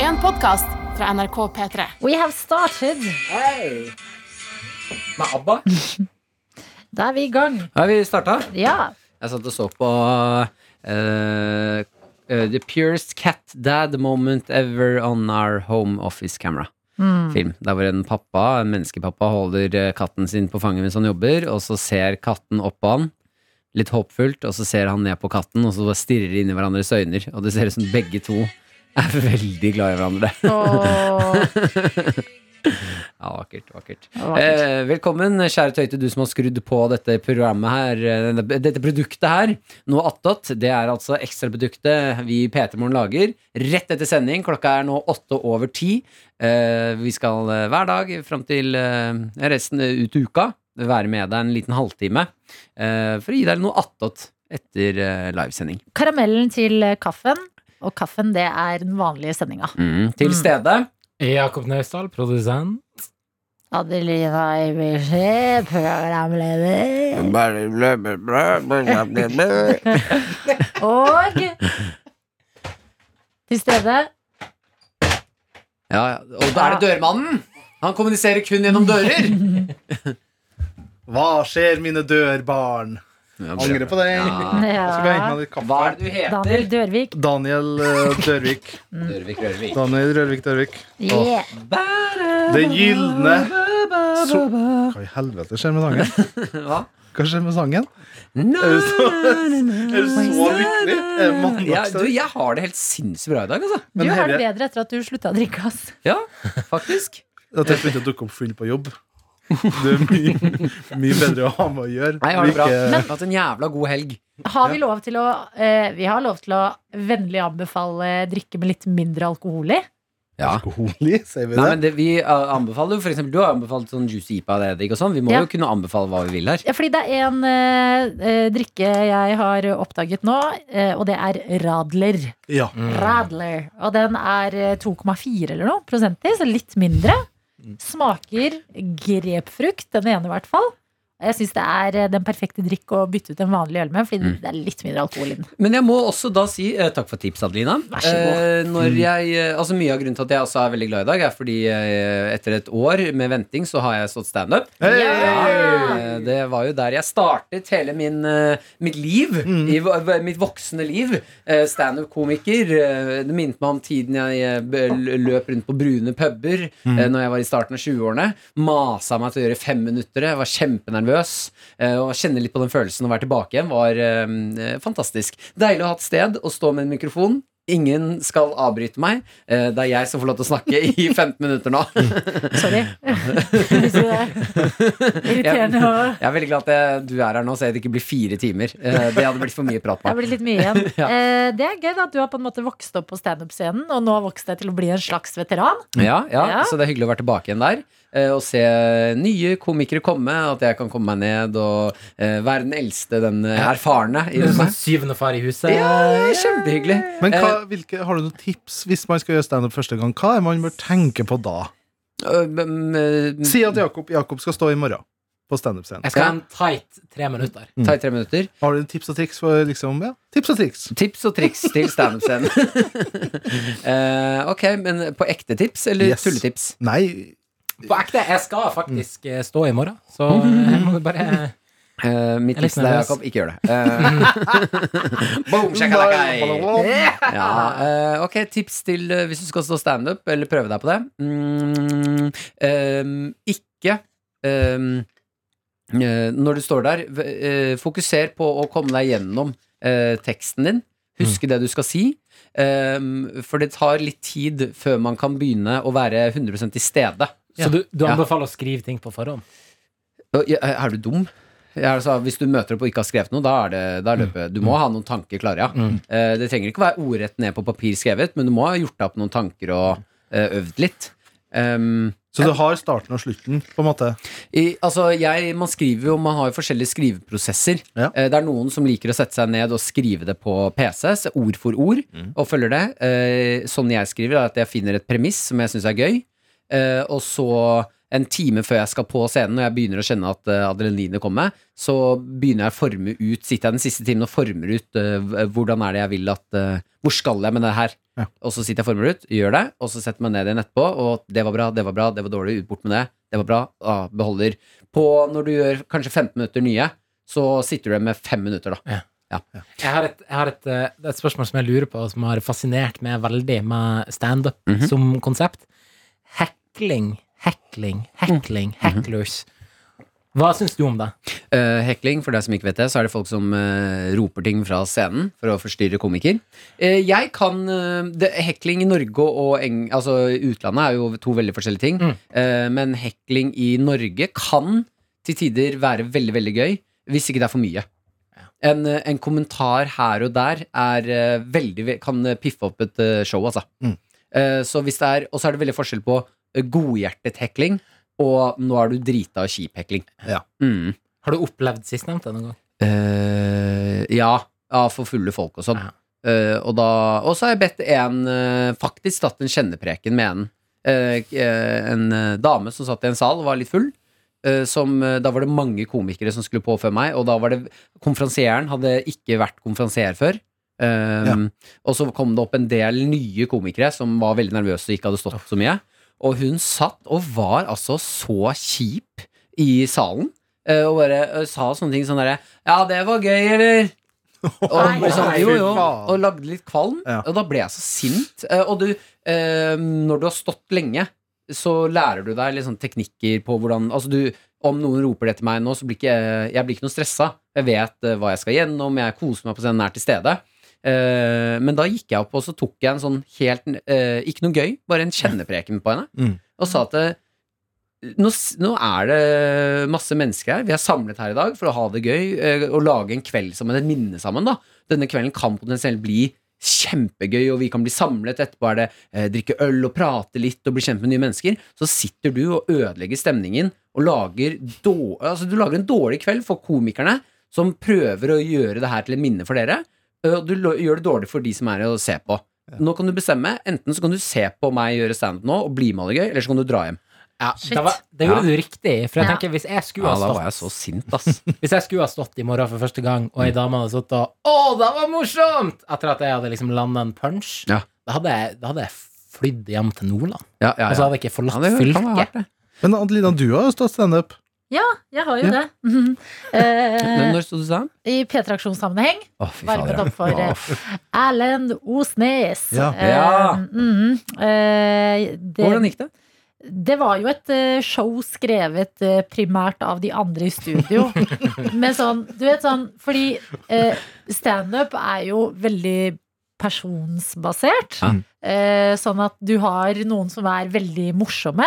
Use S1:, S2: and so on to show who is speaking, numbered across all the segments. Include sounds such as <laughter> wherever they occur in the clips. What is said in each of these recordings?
S1: en podkast fra NRK P3.
S2: We have started.
S3: Hei! Med ABBA.
S2: Da er vi i gang.
S3: Har vi starta?
S2: Ja.
S3: Jeg satt og så på eh, eh, The Purest Cat Dad Moment Ever On Our Home Office Camera. Film. Der hvor en pappa, en menneskepappa holder eh, katten sin på fanget mens han jobber, og så ser katten opp på han. Litt håpfullt, og så ser han ned på katten, og så bare stirrer de inn i hverandres øyne. Og det ser ut som begge to er <laughs> veldig glad i hverandre.
S2: Og
S3: Ja, vakkert, vakkert.
S2: Ja, vakkert.
S3: Eh, velkommen, kjære Tøyte, du som har skrudd på dette programmet her, eh, denne- dette produktet her. Nå attåt, det er altså ekstraproduktet vi i PT-morgen lager rett etter sending. Klokka er nå åtte over ti. Eh, vi skal eh, hver dag fram til eh, resten ut i uka være med deg en liten halvtime eh, for å gi deg noe attåt etter eh, livesending.
S2: karamellen til kaffen. Og kaffen, det er den vanlige sendinga.
S3: Mm. Til
S2: Mm.
S3: stede.
S4: Jakob Naustdal, produsent.
S2: Adelina Ibishi, programleder. Og til stede
S3: Ja, ja. Og da er det dørmannen! Han kommuniserer kun gjennom dører!
S5: Hva skjer, mine dørbarn? Angrer på det.
S3: <laughs> Ja.
S5: Jeg Skal vi hente
S2: ja,
S5: meg litt kaffe?
S3: Hva er det du heter?
S2: Daniel Dørvik.
S5: Daniel eh, Dørvik.
S3: Rørvik, Rørvik.
S5: Daniel Rørvik Dørvik.
S2: Yeah.
S5: Det gylne so Hva i helvete skjer med sangen?
S3: Hva?
S5: Hva skjer med sangen?
S3: Er
S5: du så- Er du så lykkelig? Er det mandag,
S3: Ja,
S5: så?
S3: du, jeg har det helt sinnssykt bra i dag, altså.
S2: Du
S5: Men
S2: har det
S5: herre-
S2: bedre etter at du slutta å drikke, ass.
S3: Ja, faktisk.
S5: At jeg begynte å dukke opp full på jobb. Det er mye, mye bedre å ha med å gjøre.
S3: Nei, jeg har det bra.
S5: Ikke-
S3: Jeg har hatt en jævla god helg.
S2: Har vi lov til å eh, Vi har lov til å vennlig anbefale drikke med litt mindre alkohol i.
S3: Ja.
S5: Alkoholi, sier
S3: Nei,
S5: vi det?
S3: men det, vi eh, anbefaler jo for eksempel, Du har anbefalt sånn juicy ipa det, Edik, og sånn. Vi må
S2: Ja.
S3: jo kunne anbefale hva vi vil her.
S2: Ja, fordi det er en eh, eh, drikke jeg har oppdaget nå, eh, og det er Radler.
S5: Ja.
S3: Mm.
S2: Radler. Og den er eh, 2,4 eller noe prosent i, så litt mindre.
S3: Mm.
S2: Smaker grepfrukt, den ene i hvert fall. Og Jeg syns det er eh, den perfekte drikk å bytte ut en vanlig øl med, fordi
S3: Mm.
S2: det er litt mindre alkohol i den.
S3: Men jeg må også da si eh, takk for tips, Adelina.
S2: Vær så god.
S3: Eh, når
S5: Mm.
S3: jeg, eh, altså Mye av grunnen til at jeg også er veldig glad i dag, er fordi eh, etter et år med venting, så har jeg stått standup.
S5: Hei!
S3: Eh, Det var jo der jeg startet hele min, eh, mitt liv. I, vo- v- mitt voksne liv. Eh, Standup-komiker. eh, Det minnet meg om tiden jeg eh, b- l- løp rundt på brune puber mm. når jeg var i starten av 20-årene. Masa meg til å gjøre femminuttere. Var kjempenervøs. eh, Og å kjenne litt på den følelsen å være tilbake igjen var eh, eh, fantastisk. Deilig å ha et sted å stå med en mikrofon. Ingen skal avbryte meg. Eh, Det er jeg som får lov til å snakke i 15 minutter nå.
S2: Sorry. <laughs> Hvis du er Irriterende å
S3: Jeg er veldig glad at jeg, du er her nå, så jeg ikke blir fire timer. Eh, Det hadde blitt for mye prat.
S2: Det
S3: Med.
S2: har blitt litt mye igjen.
S3: <laughs> Ja.
S2: eh, det er gøy da, at du har på en måte vokst opp på standup-scenen, og nå har vokst deg til å bli en slags veteran.
S3: Ja, ja,
S2: Ja.
S3: Så det er hyggelig å være tilbake igjen der. eh, Og se nye komikere komme, at jeg kan komme meg ned og eh, være den eldste, den eh, erfarne. sånn I
S4: Mhm.
S3: rommet.
S4: Syvende far i huset.
S3: Ja, det er kjempehyggelig.
S5: Men
S3: Eh.
S5: hva, hvilke, har du noen tips hvis man skal gjøre standup første gang? Hva er man bør tenke på da?
S3: Eh, men, eh,
S5: Si at Jakob, Jakob skal stå i morgen på standup-scenen.
S4: Jeg skal ha en tight tre minutter.
S3: Ta i tre minutter.
S5: Har du tips og triks for liksom, ja, tips og triks?
S3: Tips og triks til standup-scenen. <laughs> Eh, ok, men på ekte tips eller
S5: Yes.
S3: tulletips?
S5: Nei,
S4: På ekte, jeg skal faktisk eh, stå i morgen, så jeg må bare
S3: Eh, mitt
S4: Jeg er litt
S3: tips til deg,
S4: nervøs.
S3: Jakob, ikke gjør det. Eh, Boom, shakalaka. Ja, eh, ok, tips til eh, hvis du skal stå standup, eller prøve deg på det. Mm, ehm, ikke ehm, eh, Når du står der, v- eh, fokuser på å komme deg gjennom eh, teksten din. Huske det du skal si. Ehm, for det tar litt tid før man kan begynne å være 100 til stede.
S4: <laughs> Så du, du
S3: Ja.
S4: anbefaler å skrive ting på forhånd?
S3: Og, ja, eh, Er du dum? Ja, altså, hvis du møter opp og ikke har skrevet noe, da er det da er løpet. Du må ha noen tanker klare, ja. Eh, Det trenger ikke være ordrett ned på papir skrevet, men du må ha gjort deg opp noen tanker og eh, øvd litt. Um,
S5: Så du har starten og slutten, på en måte?
S3: i, altså, jeg, man skriver jo, man har jo forskjellige skriveprosesser.
S5: Ja.
S3: Eh, det er noen som liker å sette seg ned og skrive det på PC, så ord for ord, og følger det. Eh, sånn jeg skriver, er at jeg finner et premiss som jeg syns er gøy, eh, og så en time før jeg skal på scenen, og jeg begynner å kjenne at eh, adrenalinet kommer, så begynner jeg å forme ut, sitter jeg den siste timen og former ut eh, hvordan er det jeg vil at eh, Hvor skal jeg med det her?
S5: Ja.
S3: Og så sitter jeg formel ut, gjør det, og så setter jeg meg ned igjen etterpå. Og det var bra, det var bra, det var dårlig, ut bort med det. Det var bra, ah, beholder. På når du gjør kanskje 15 minutter nye, så sitter du igjen med 5 minutter, da.
S4: Jeg har, et, jeg har et, eh, det er et spørsmål som jeg lurer på, og som har fascinert meg veldig med standup
S3: Mhm.
S4: som konsept. Hekling, hekling, hekling, hecklers. Hva syns du om det?
S3: Eh, hekling, for deg som ikke vet det, så er det folk som eh, roper ting fra scenen for å forstyrre komiker. Eh, jeg kan eh, det, Hekling i Norge og eng, altså, utlandet er jo to veldig forskjellige ting.
S4: Mm.
S3: Eh, men hekling i Norge kan til tider være veldig, veldig gøy, hvis ikke det er for mye. En, eh, en kommentar her og der er eh, veldig, ve- kan eh, piffe opp et eh, show, altså.
S5: Mm.
S3: Eh, så hvis det er, og så er det veldig forskjell på eh, godhjertet hekling og nå er du drita og kjip hekling.
S5: Ja.
S3: Mm.
S4: Har du opplevd sistnevnte noen gang?
S3: Eh, ja, ja, for fulle folk og sånn.
S4: Ja.
S3: Eh, og, da, og så har jeg bedt en eh, faktisk tatt en kjennepreken med en. Eh, eh, en eh, dame som satt i en sal og var litt full. eh, som, eh, da var det mange komikere som skulle på før meg, og da var det konferansieren hadde ikke vært konferansier før. Eh, Og så kom det opp en del nye komikere som var veldig nervøse og ikke hadde stått så mye. Og hun satt og var altså så kjip i salen. eh, Og bare eh, sa sånne ting sånn derre Ja, det var gøy,
S5: <laughs>
S3: eller? Og,
S2: Nei,
S3: ble sånn,
S5: nei,
S3: jo,
S5: fy
S3: jo,
S5: faen.
S3: og lagde litt kvalm.
S5: Ja.
S3: Og da ble jeg så sint. Eh, Og du, eh, når du har stått lenge, så lærer du deg litt sånn teknikker på hvordan Altså du om noen roper det til meg nå, så blir ikke jeg, jeg blir ikke noe stressa. Jeg vet eh, hva jeg skal gjennom, jeg koser meg på scenen, er til stede. Eh, men da gikk jeg opp og så tok jeg en sånn helt eh, Ikke noe gøy, bare en kjennepreken på henne.
S5: Mm.
S3: Og sa at eh, nå, s- nå er det masse mennesker her. Vi er samlet her i dag for å ha det gøy eh, og lage en kveld sammen, et minne sammen. da Denne kvelden kan potensielt bli kjempegøy, og vi kan bli samlet. Etterpå er det eh, drikke øl og prate litt og bli kjent med nye mennesker. Så sitter du og ødelegger stemningen og lager, då, altså, du lager en dårlig kveld for komikerne som prøver å gjøre det her til et minne for dere. Og du lo- gjør det dårlig for de som er å se på. Nå kan du bestemme. Enten så kan du se på meg gjøre standup nå og bli med og ha det gøy, eller så kan du dra hjem.
S4: Ja,
S2: Shit.
S4: det, var, det gjorde
S3: Ja.
S4: du riktig. For jeg
S2: Ja.
S4: tenker, hvis jeg skulle
S3: Ja,
S4: ha
S3: da var jeg
S4: stått
S3: så sint, ass.
S4: Hvis jeg skulle ha stått i morgen for første gang, og ei dame hadde stått og Å, det var morsomt! Etter at jeg hadde liksom landa en punch,
S3: Ja.
S4: da, hadde jeg, da hadde jeg flydd hjem til Nordland.
S3: <laughs> Ja, ja,
S4: Og så
S3: ja.
S4: hadde jeg ikke
S3: Ja,
S4: forlatt
S3: det kan være hardt,
S4: fylket.
S3: det.
S5: Men Adelina, du har jo stått standup.
S2: Ja, jeg har jo
S5: Ja.
S2: det. Mhm.
S3: Men
S2: Eh,
S3: Når sto du sammen?
S2: I P3-aksjonssammenheng
S3: Å, fy
S2: varmet opp for
S3: Å,
S2: eh, Erlend Osnes.
S5: Ja.
S2: Eh,
S3: Ja.
S2: mhm. Eh, det,
S3: Hvordan gikk det?
S2: Det var jo et eh, show skrevet eh, primært av de andre i studio. Men sånn, du vet sånn Fordi eh, standup er jo veldig personsbasert.
S3: Ja.
S2: Eh, sånn at du har noen som er veldig morsomme,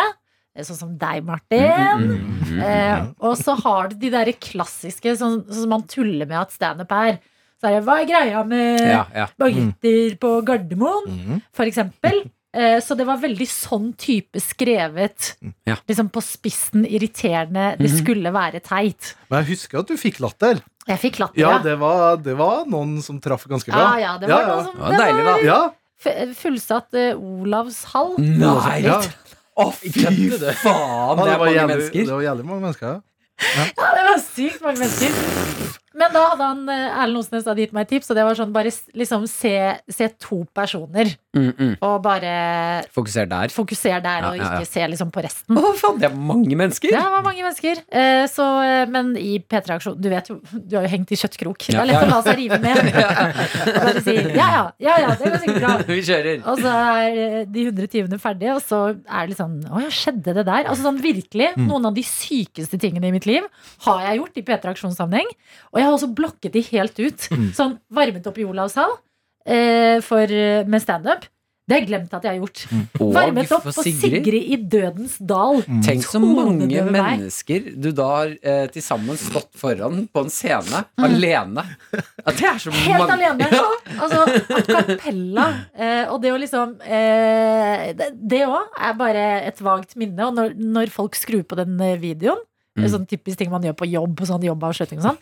S2: eh, sånn som deg, Martin.
S3: Mhm.
S2: Eh, og så har du de der klassiske sånn sånn som man tuller med at standup er. Så er det, Hva er greia med
S3: Ja, ja.
S2: bagetter på Gardermoen?
S5: Mm.
S2: for eksempel. Eh, Så det var veldig sånn type skrevet.
S3: Ja.
S2: Liksom på spissen, irriterende. Det
S3: Mhm.
S2: skulle være teit.
S5: Men jeg husker at du fikk latter.
S2: Jeg fikk latter,
S5: Ja, det var, det var noen som traff ganske
S2: ja,
S5: bra.
S2: Ah, ja, det var
S5: ja.
S2: noe som
S3: Det var deilig, da.
S5: Ja,
S2: f- Fullsatt eh, Olavshall.
S3: Nei!
S5: ja.
S2: <laughs>
S3: Å, fy faen!
S5: Ja,
S3: Det
S5: det,
S3: er
S5: var
S3: mange
S5: jævlig, det
S3: mennesker.
S5: var jævlig mange mennesker. ja.
S2: Ja, det var sykt mange mennesker. Men da hadde han eh, Erlend Osnes hadde gitt meg et tips, og det var sånn bare s- liksom se, se to personer,
S3: Mm, mm.
S2: og bare
S3: Fokuser der.
S2: fokusere der, og
S3: Ja, ja, ja.
S2: ikke se liksom på resten.
S3: Å, faen, det er mange mennesker!
S2: Ja, det var mange mennesker. Eh, så, eh, men i P3-aksjonen Du vet jo, du har jo hengt i kjøttkrok. Det
S3: Ja.
S2: er lett å la seg rive
S3: <laughs>
S2: med. Og bare si ja, ja, ja, ja, det går sikkert bra.
S3: <laughs> Vi kjører.
S2: Og så er eh, de 100 timene ferdige, og så er det litt sånn Å ja, skjedde det der? Altså sånn virkelig,
S3: Mm.
S2: Noen av de sykeste tingene i mitt liv har jeg gjort i P3-aksjonssammenheng. Og jeg har også blokket de helt ut.
S3: Mm.
S2: Sånn varmet opp i Olavs hall eh, for, eh, med standup. Det har jeg glemt at jeg har
S3: Mm.
S2: gjort.
S3: Og
S2: Varmet opp
S3: for
S2: på Sigrid i Dødens dal.
S3: Tenk så
S2: Tone
S3: mange
S2: døde meg.
S3: mennesker du da har eh, til sammen stått foran på en scene, alene. Ja, det er så
S2: Mm. Helt
S3: mange <laughs>
S2: alene. Altså, a cappella. Eh, og det å liksom eh, Det òg er bare et vagt minne. Og når, når folk skrur på den eh, videoen, Det
S3: Mm.
S2: er Sånn typisk ting man gjør på jobb. og Sånn jobbavslutning og sånn.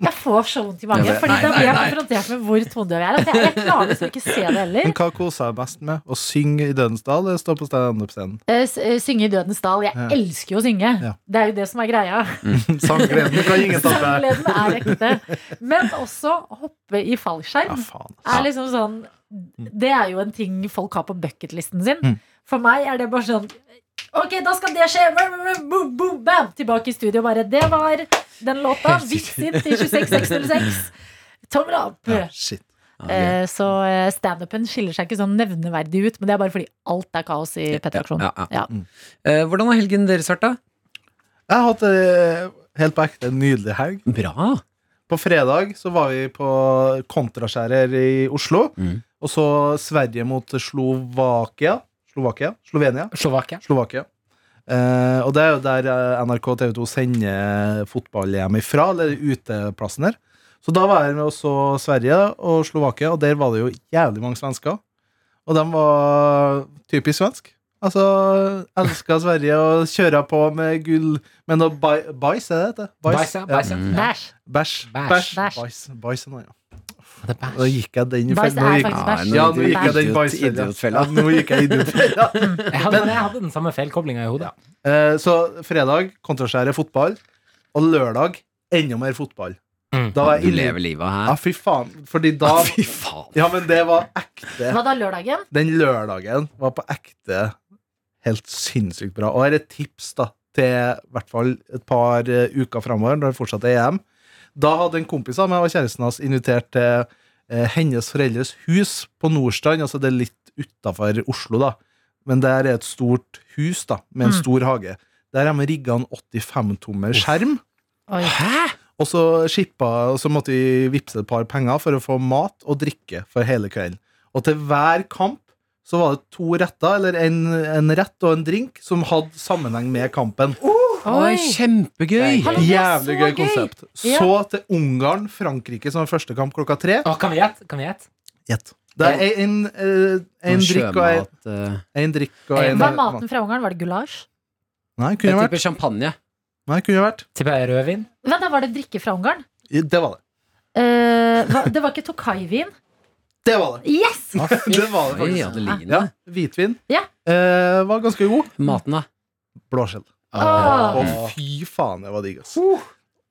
S2: Jeg får så vondt i magen,
S3: Ja, det-
S2: Fordi
S3: nei,
S2: da blir jeg
S3: nei, nei.
S2: konfrontert med hvor tondøv jeg er. At jeg, jeg klarer liksom ikke se det heller.
S5: Men hva koser jeg mest med? Å synge i Dødensdal eller stå på
S2: <laughs>
S5: standup-scenen?
S2: Eh, s- eh, Synge i Dødens dal. Jeg
S5: Ja.
S2: elsker jo å synge.
S5: Ja.
S2: Det er jo det som er greia.
S5: Sanggleden kan ingen ta
S2: <laughs>
S5: fra deg.
S2: Sanggleden er ekte. Men også hoppe i
S5: Ja,
S2: fallskjerm
S5: faen. altså.
S2: er liksom sånn Det er jo en ting folk har på bucketlisten sin.
S5: Mm.
S2: For meg er det bare sånn Ok, da skal det skje! Vroom, vroom, Boom, boom, bam! Tilbake i studio bare. Det var den låta. Visit til 26606. Tommel opp!
S5: Ja, shit.
S2: Eh, Så eh, standupen skiller seg ikke sånn nevneverdig ut, men det er bare fordi alt er kaos i P3aksjonen.
S3: Ja, ja, ja.
S2: Ja.
S3: Eh, hvordan har helgen deres vært, da?
S5: Jeg har hatt det helt på ekte en nydelig helg.
S3: Bra.
S5: På fredag så var vi på kontraskjærer i Oslo.
S3: Mm.
S5: Og så Sverige mot Slovakia. Slovakia? Slovenia?
S4: Slovakia.
S5: Slovakia. Eh, og det er jo der eh, NRK og TV 2 sender fotball-EM ifra, eller uteplassen der. Så da var jeg med også Sverige og Slovakia, og der var det jo jævlig mange svensker. Og de var typisk svensk. Altså, elska Sverige og kjøra på med gull Men noe bai- bæsj, er det det heter?
S4: Bæsj, ja. Bæsj, ja.
S3: Mm.
S2: Bæsj.
S5: Bæsj.
S4: Bæsj.
S5: Bæsj.
S2: Bæsj.
S5: Bæsj. Bæsj er noe, ja.
S4: Det er
S5: Da
S4: bæsj.
S5: gikk jeg den i
S2: Bæsj
S5: fell- nå
S2: er
S5: gikk-
S2: faktisk
S3: Ja,
S2: bæsj.
S5: Ja, nå gikk jeg den
S3: Idiot-
S5: bæsjfella.
S3: idiotfella.
S5: Ja, nå gikk jeg
S2: <laughs>
S5: i idiotfella.
S4: Jeg hadde, jeg hadde den samme feilkoblinga i hodet.
S5: Eh, Så fredag kontraskjære fotball, og lørdag enda mer fotball.
S4: Mm.
S5: Da var
S3: Du
S5: jeg inne
S3: lever livet her. Ah,
S5: Ja, fy faen. Fordi
S3: <laughs>
S5: da
S3: Fy faen.
S5: Ja, men det var ekte.
S2: Hva da, lørdagen?
S5: Den lørdagen var på ekte helt sinnssykt bra. Og her er et tips da til i hvert fall et par eh, uker framover, når det fortsatt er EM. Da hadde en kompis av meg og kjæresten hans invitert til eh, hennes foreldres hus på Nordstrand. Altså det er litt utafor Oslo, da. Men der er et stort hus da, med en
S2: Mm.
S5: stor hage. Der har de rigga en 85-tommer skjerm.
S2: Oi.
S5: Og så skippa, og så måtte vi vippse et par penger for å få mat og drikke for hele kvelden. Og til hver kamp så var det to retter, eller en, en rett og en drink, som hadde sammenheng med kampen.
S3: Oi, kjempegøy!
S2: Hallo, det er
S5: Jævlig
S2: så
S5: gøy
S2: gøy!
S5: konsept.
S2: Ja.
S5: Så til Ungarn-Frankrike som var første kamp klokka tre.
S4: Å, kan vi gjette? Kan vi gjette?
S5: Gjett. Det er en, eh, en drikk og en,
S3: Sjømat, eh,
S5: en drikk og en
S2: Hva er maten fra Ungarn? Var det gulasj?
S5: Nei,
S3: Jeg
S5: kunne vært.
S3: tipper champagne.
S5: Nei, kunne vært.
S4: Tipper jeg rødvin.
S2: Men da var det drikke fra Ungarn?
S5: Det var det.
S2: Eh, hva, det var ikke Tokai-vin?
S5: Det var det.
S2: Yes!
S5: <laughs> det var det
S3: Oi,
S5: faktisk.
S3: Ah, ja, det
S5: Ja,
S3: liggende.
S5: Hvitvin
S2: Ja.
S5: eh, var ganske god.
S3: Maten, da?
S5: Blåskjell.
S2: Åh.
S5: Og
S3: Ah.
S5: fy faen, det var digg, ass.
S2: Uh.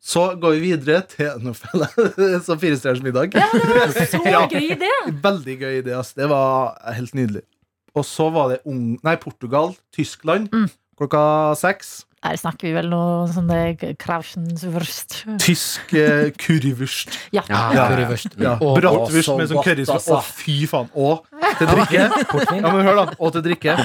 S5: Så går vi videre til <laughs> Nå feller jeg så fire stjerners middag.
S2: Ja, det var en så
S5: Ja.
S2: gøy idé!
S5: Veldig gøy idé, ass. Det var helt nydelig. Og så var det Ung... Nei, Portugal. Tyskland.
S2: Mm.
S5: Klokka seks.
S2: Her snakker vi vel noe sånn det Krauschenswurst
S5: Tysk eh, currywurst.
S2: Ja.
S3: Ja,
S5: ja, ja.
S4: Currywurst.
S5: Ja,
S4: Og-
S5: Bratwurst
S3: og så
S5: med sånn
S3: godt,
S5: currywurst.
S3: altså.
S5: Å, fy faen. Og til drikke
S4: Portvin.
S5: Ja, men hør, da. Og til drikke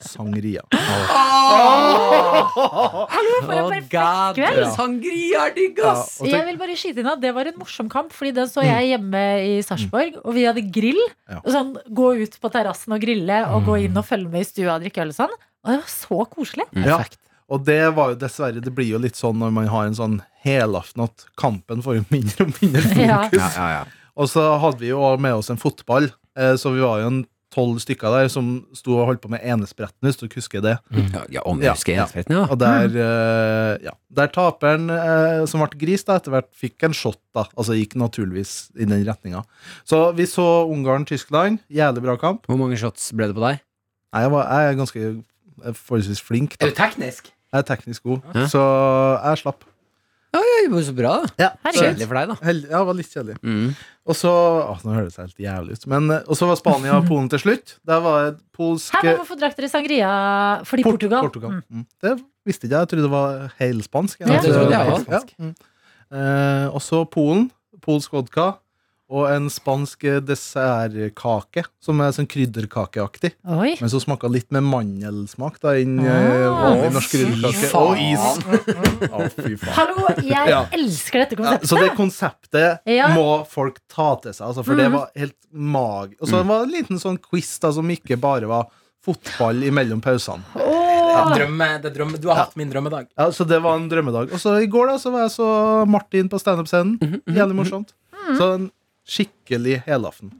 S5: sangria. Ah!
S2: for en perfekt kveld.
S5: Ja.
S3: Sangria er digg,
S5: Ja,
S3: ass!
S5: og til
S2: Jeg vil bare skyte inn at det var en morsom kamp, Fordi den så jeg hjemme i Sarpsborg, og vi hadde grill.
S5: Mm. Ja. Mm.
S2: Og Sånn, gå ut på terrassen og grille, og gå inn og følge med i stua og drikke øl og sånn. Og det var så koselig.
S5: Ja. Og det var jo dessverre Det blir jo litt sånn når man har en sånn helaften at kampen får jo mindre og mindre fokus.
S2: <laughs> Ja.
S5: Og så hadde vi jo også med oss en fotball, eh, så vi var jo en tolv stykker der som sto og holdt på med enespretten, hvis du husker det.
S3: Mm. Ja, ja, om jeg husker
S5: Ja, ja.
S3: helt rett, ja.
S5: Og der, eh, ja, der taperen, eh, som ble gris, da, etter hvert fikk en shot, da. Altså gikk naturligvis i den retninga. Så vi så Ungarn-Tyskland. Jævlig bra kamp.
S3: Hvor mange shots ble det på deg?
S5: Nei, Jeg, var, jeg er ganske eh, forholdsvis flink. Da.
S4: Er du teknisk?
S5: Jeg er teknisk god,
S3: Ja.
S5: så jeg slapp.
S3: Oi, det var så bra. da.
S5: Ja,
S2: Herregud.
S5: så-
S3: Kjedelig for deg, da.
S5: Hel- Ja, det var litt kjedelig.
S3: Mm.
S5: Og så å, Nå høres det helt jævlig ut. Men, eh, og så var Spania og Polen til slutt. Der var et polsk
S2: Her, men hvorfor drakk dere sangria? Fordi
S5: Port-
S2: Portugal. Mm.
S5: Mm. Det visste ikke jeg. Jeg trodde det var helspansk.
S2: Ja, det
S3: trodde jeg også.
S5: Ja. Mm. Eh, og så Polen. Polsk vodka. Og en spansk eh, dessertkake, som er sånn krydderkakeaktig.
S2: Oi.
S5: Men som smaka litt med mandelsmak da, inn eh,
S2: Ah,
S5: vanlig norsk
S2: fy
S5: krydderkake.
S3: faen.
S5: Og is. Å, fy faen.
S2: Hallo, jeg
S5: <laughs> Ja.
S2: elsker dette
S5: Ja,
S2: konseptet.
S5: så det konseptet
S2: Ja.
S5: må folk ta til seg, altså, for det
S2: Mhm.
S5: var helt mag... Og så var det en liten sånn quiz da, som ikke bare var fotball imellom pausene.
S2: Åh.
S4: Drømme, det er drømme. Du har hatt min drømmedag.
S5: Ja, så det var en drømmedag. Og så i går da, så var jeg så Martin på standup-scenen. Jævlig morsomt. Så en skikkelig helaften.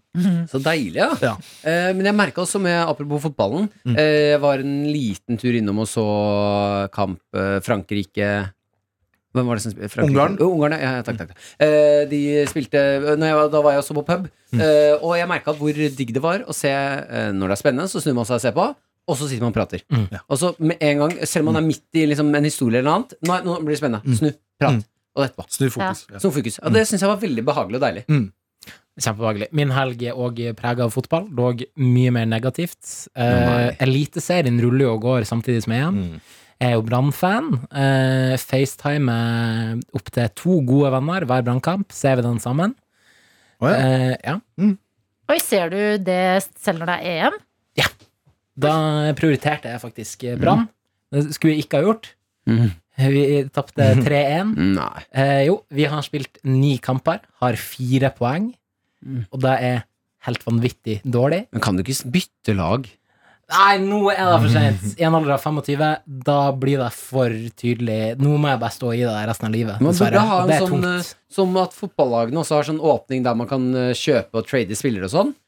S3: Så deilig, ja.
S5: Ja. Mm.
S3: Eh, men jeg merka også, med, apropos fotballen eh, Jeg var en liten tur innom og så kamp eh, Frankrike Hvem var det som spilte? Frankrike?
S5: Ungarn.
S3: Jo, Ungarn, ja, ja, takk, takk. Eh, de spilte eh, når jeg, var- Da var jeg også på pub,
S5: Mm.
S3: eh, og jeg merka hvor digg det var å se eh, Når det er spennende, så snur man seg og ser på, og så sitter man og prater.
S4: Mm.
S5: Ja.
S3: Og så med en gang, selv om man er midt i liksom, en historie eller noe annet, nå, nå blir det spennende. Snu, prat,
S5: Mm.
S3: og etterpå.
S5: Snu fokus. Ja.
S3: Som fokus. Og det syns jeg var veldig behagelig og deilig.
S4: Kjempebehagelig. Min helg er òg prega av fotball, dog mye mer negativt. Eh, Eliteserien ruller jo og går samtidig som EM.
S5: Mm.
S4: Jeg er jo Brann-fan. Eh, FaceTime opptil to gode venner hver Brannkamp. Ser vi den sammen?
S5: Å, ja.
S4: Eh, ja.
S2: Oi, ser du det selv når det er EM?
S4: Da prioriterte jeg faktisk eh, Brann.
S5: Mm.
S4: Det skulle jeg ikke ha gjort. Vi
S5: <laughs>
S4: tapte 3-1.
S3: Nei.
S4: Eh, jo, vi har spilt ni kamper, har fire poeng,
S3: Mm.
S4: og det er helt vanvittig dårlig.
S3: Men kan du ikke bytte lag?
S4: Nei, nå er det for sent. I en alder av 25, da blir det for tydelig. Nå må jeg bare stå i det resten av livet.
S3: Man burde
S4: dessverre.
S3: ha
S4: Og
S3: en
S4: det er
S3: sånn
S4: tungt.
S3: eh, Som at fotballagene også har sånn åpning der man kan eh, kjøpe og trade spillere og sånn.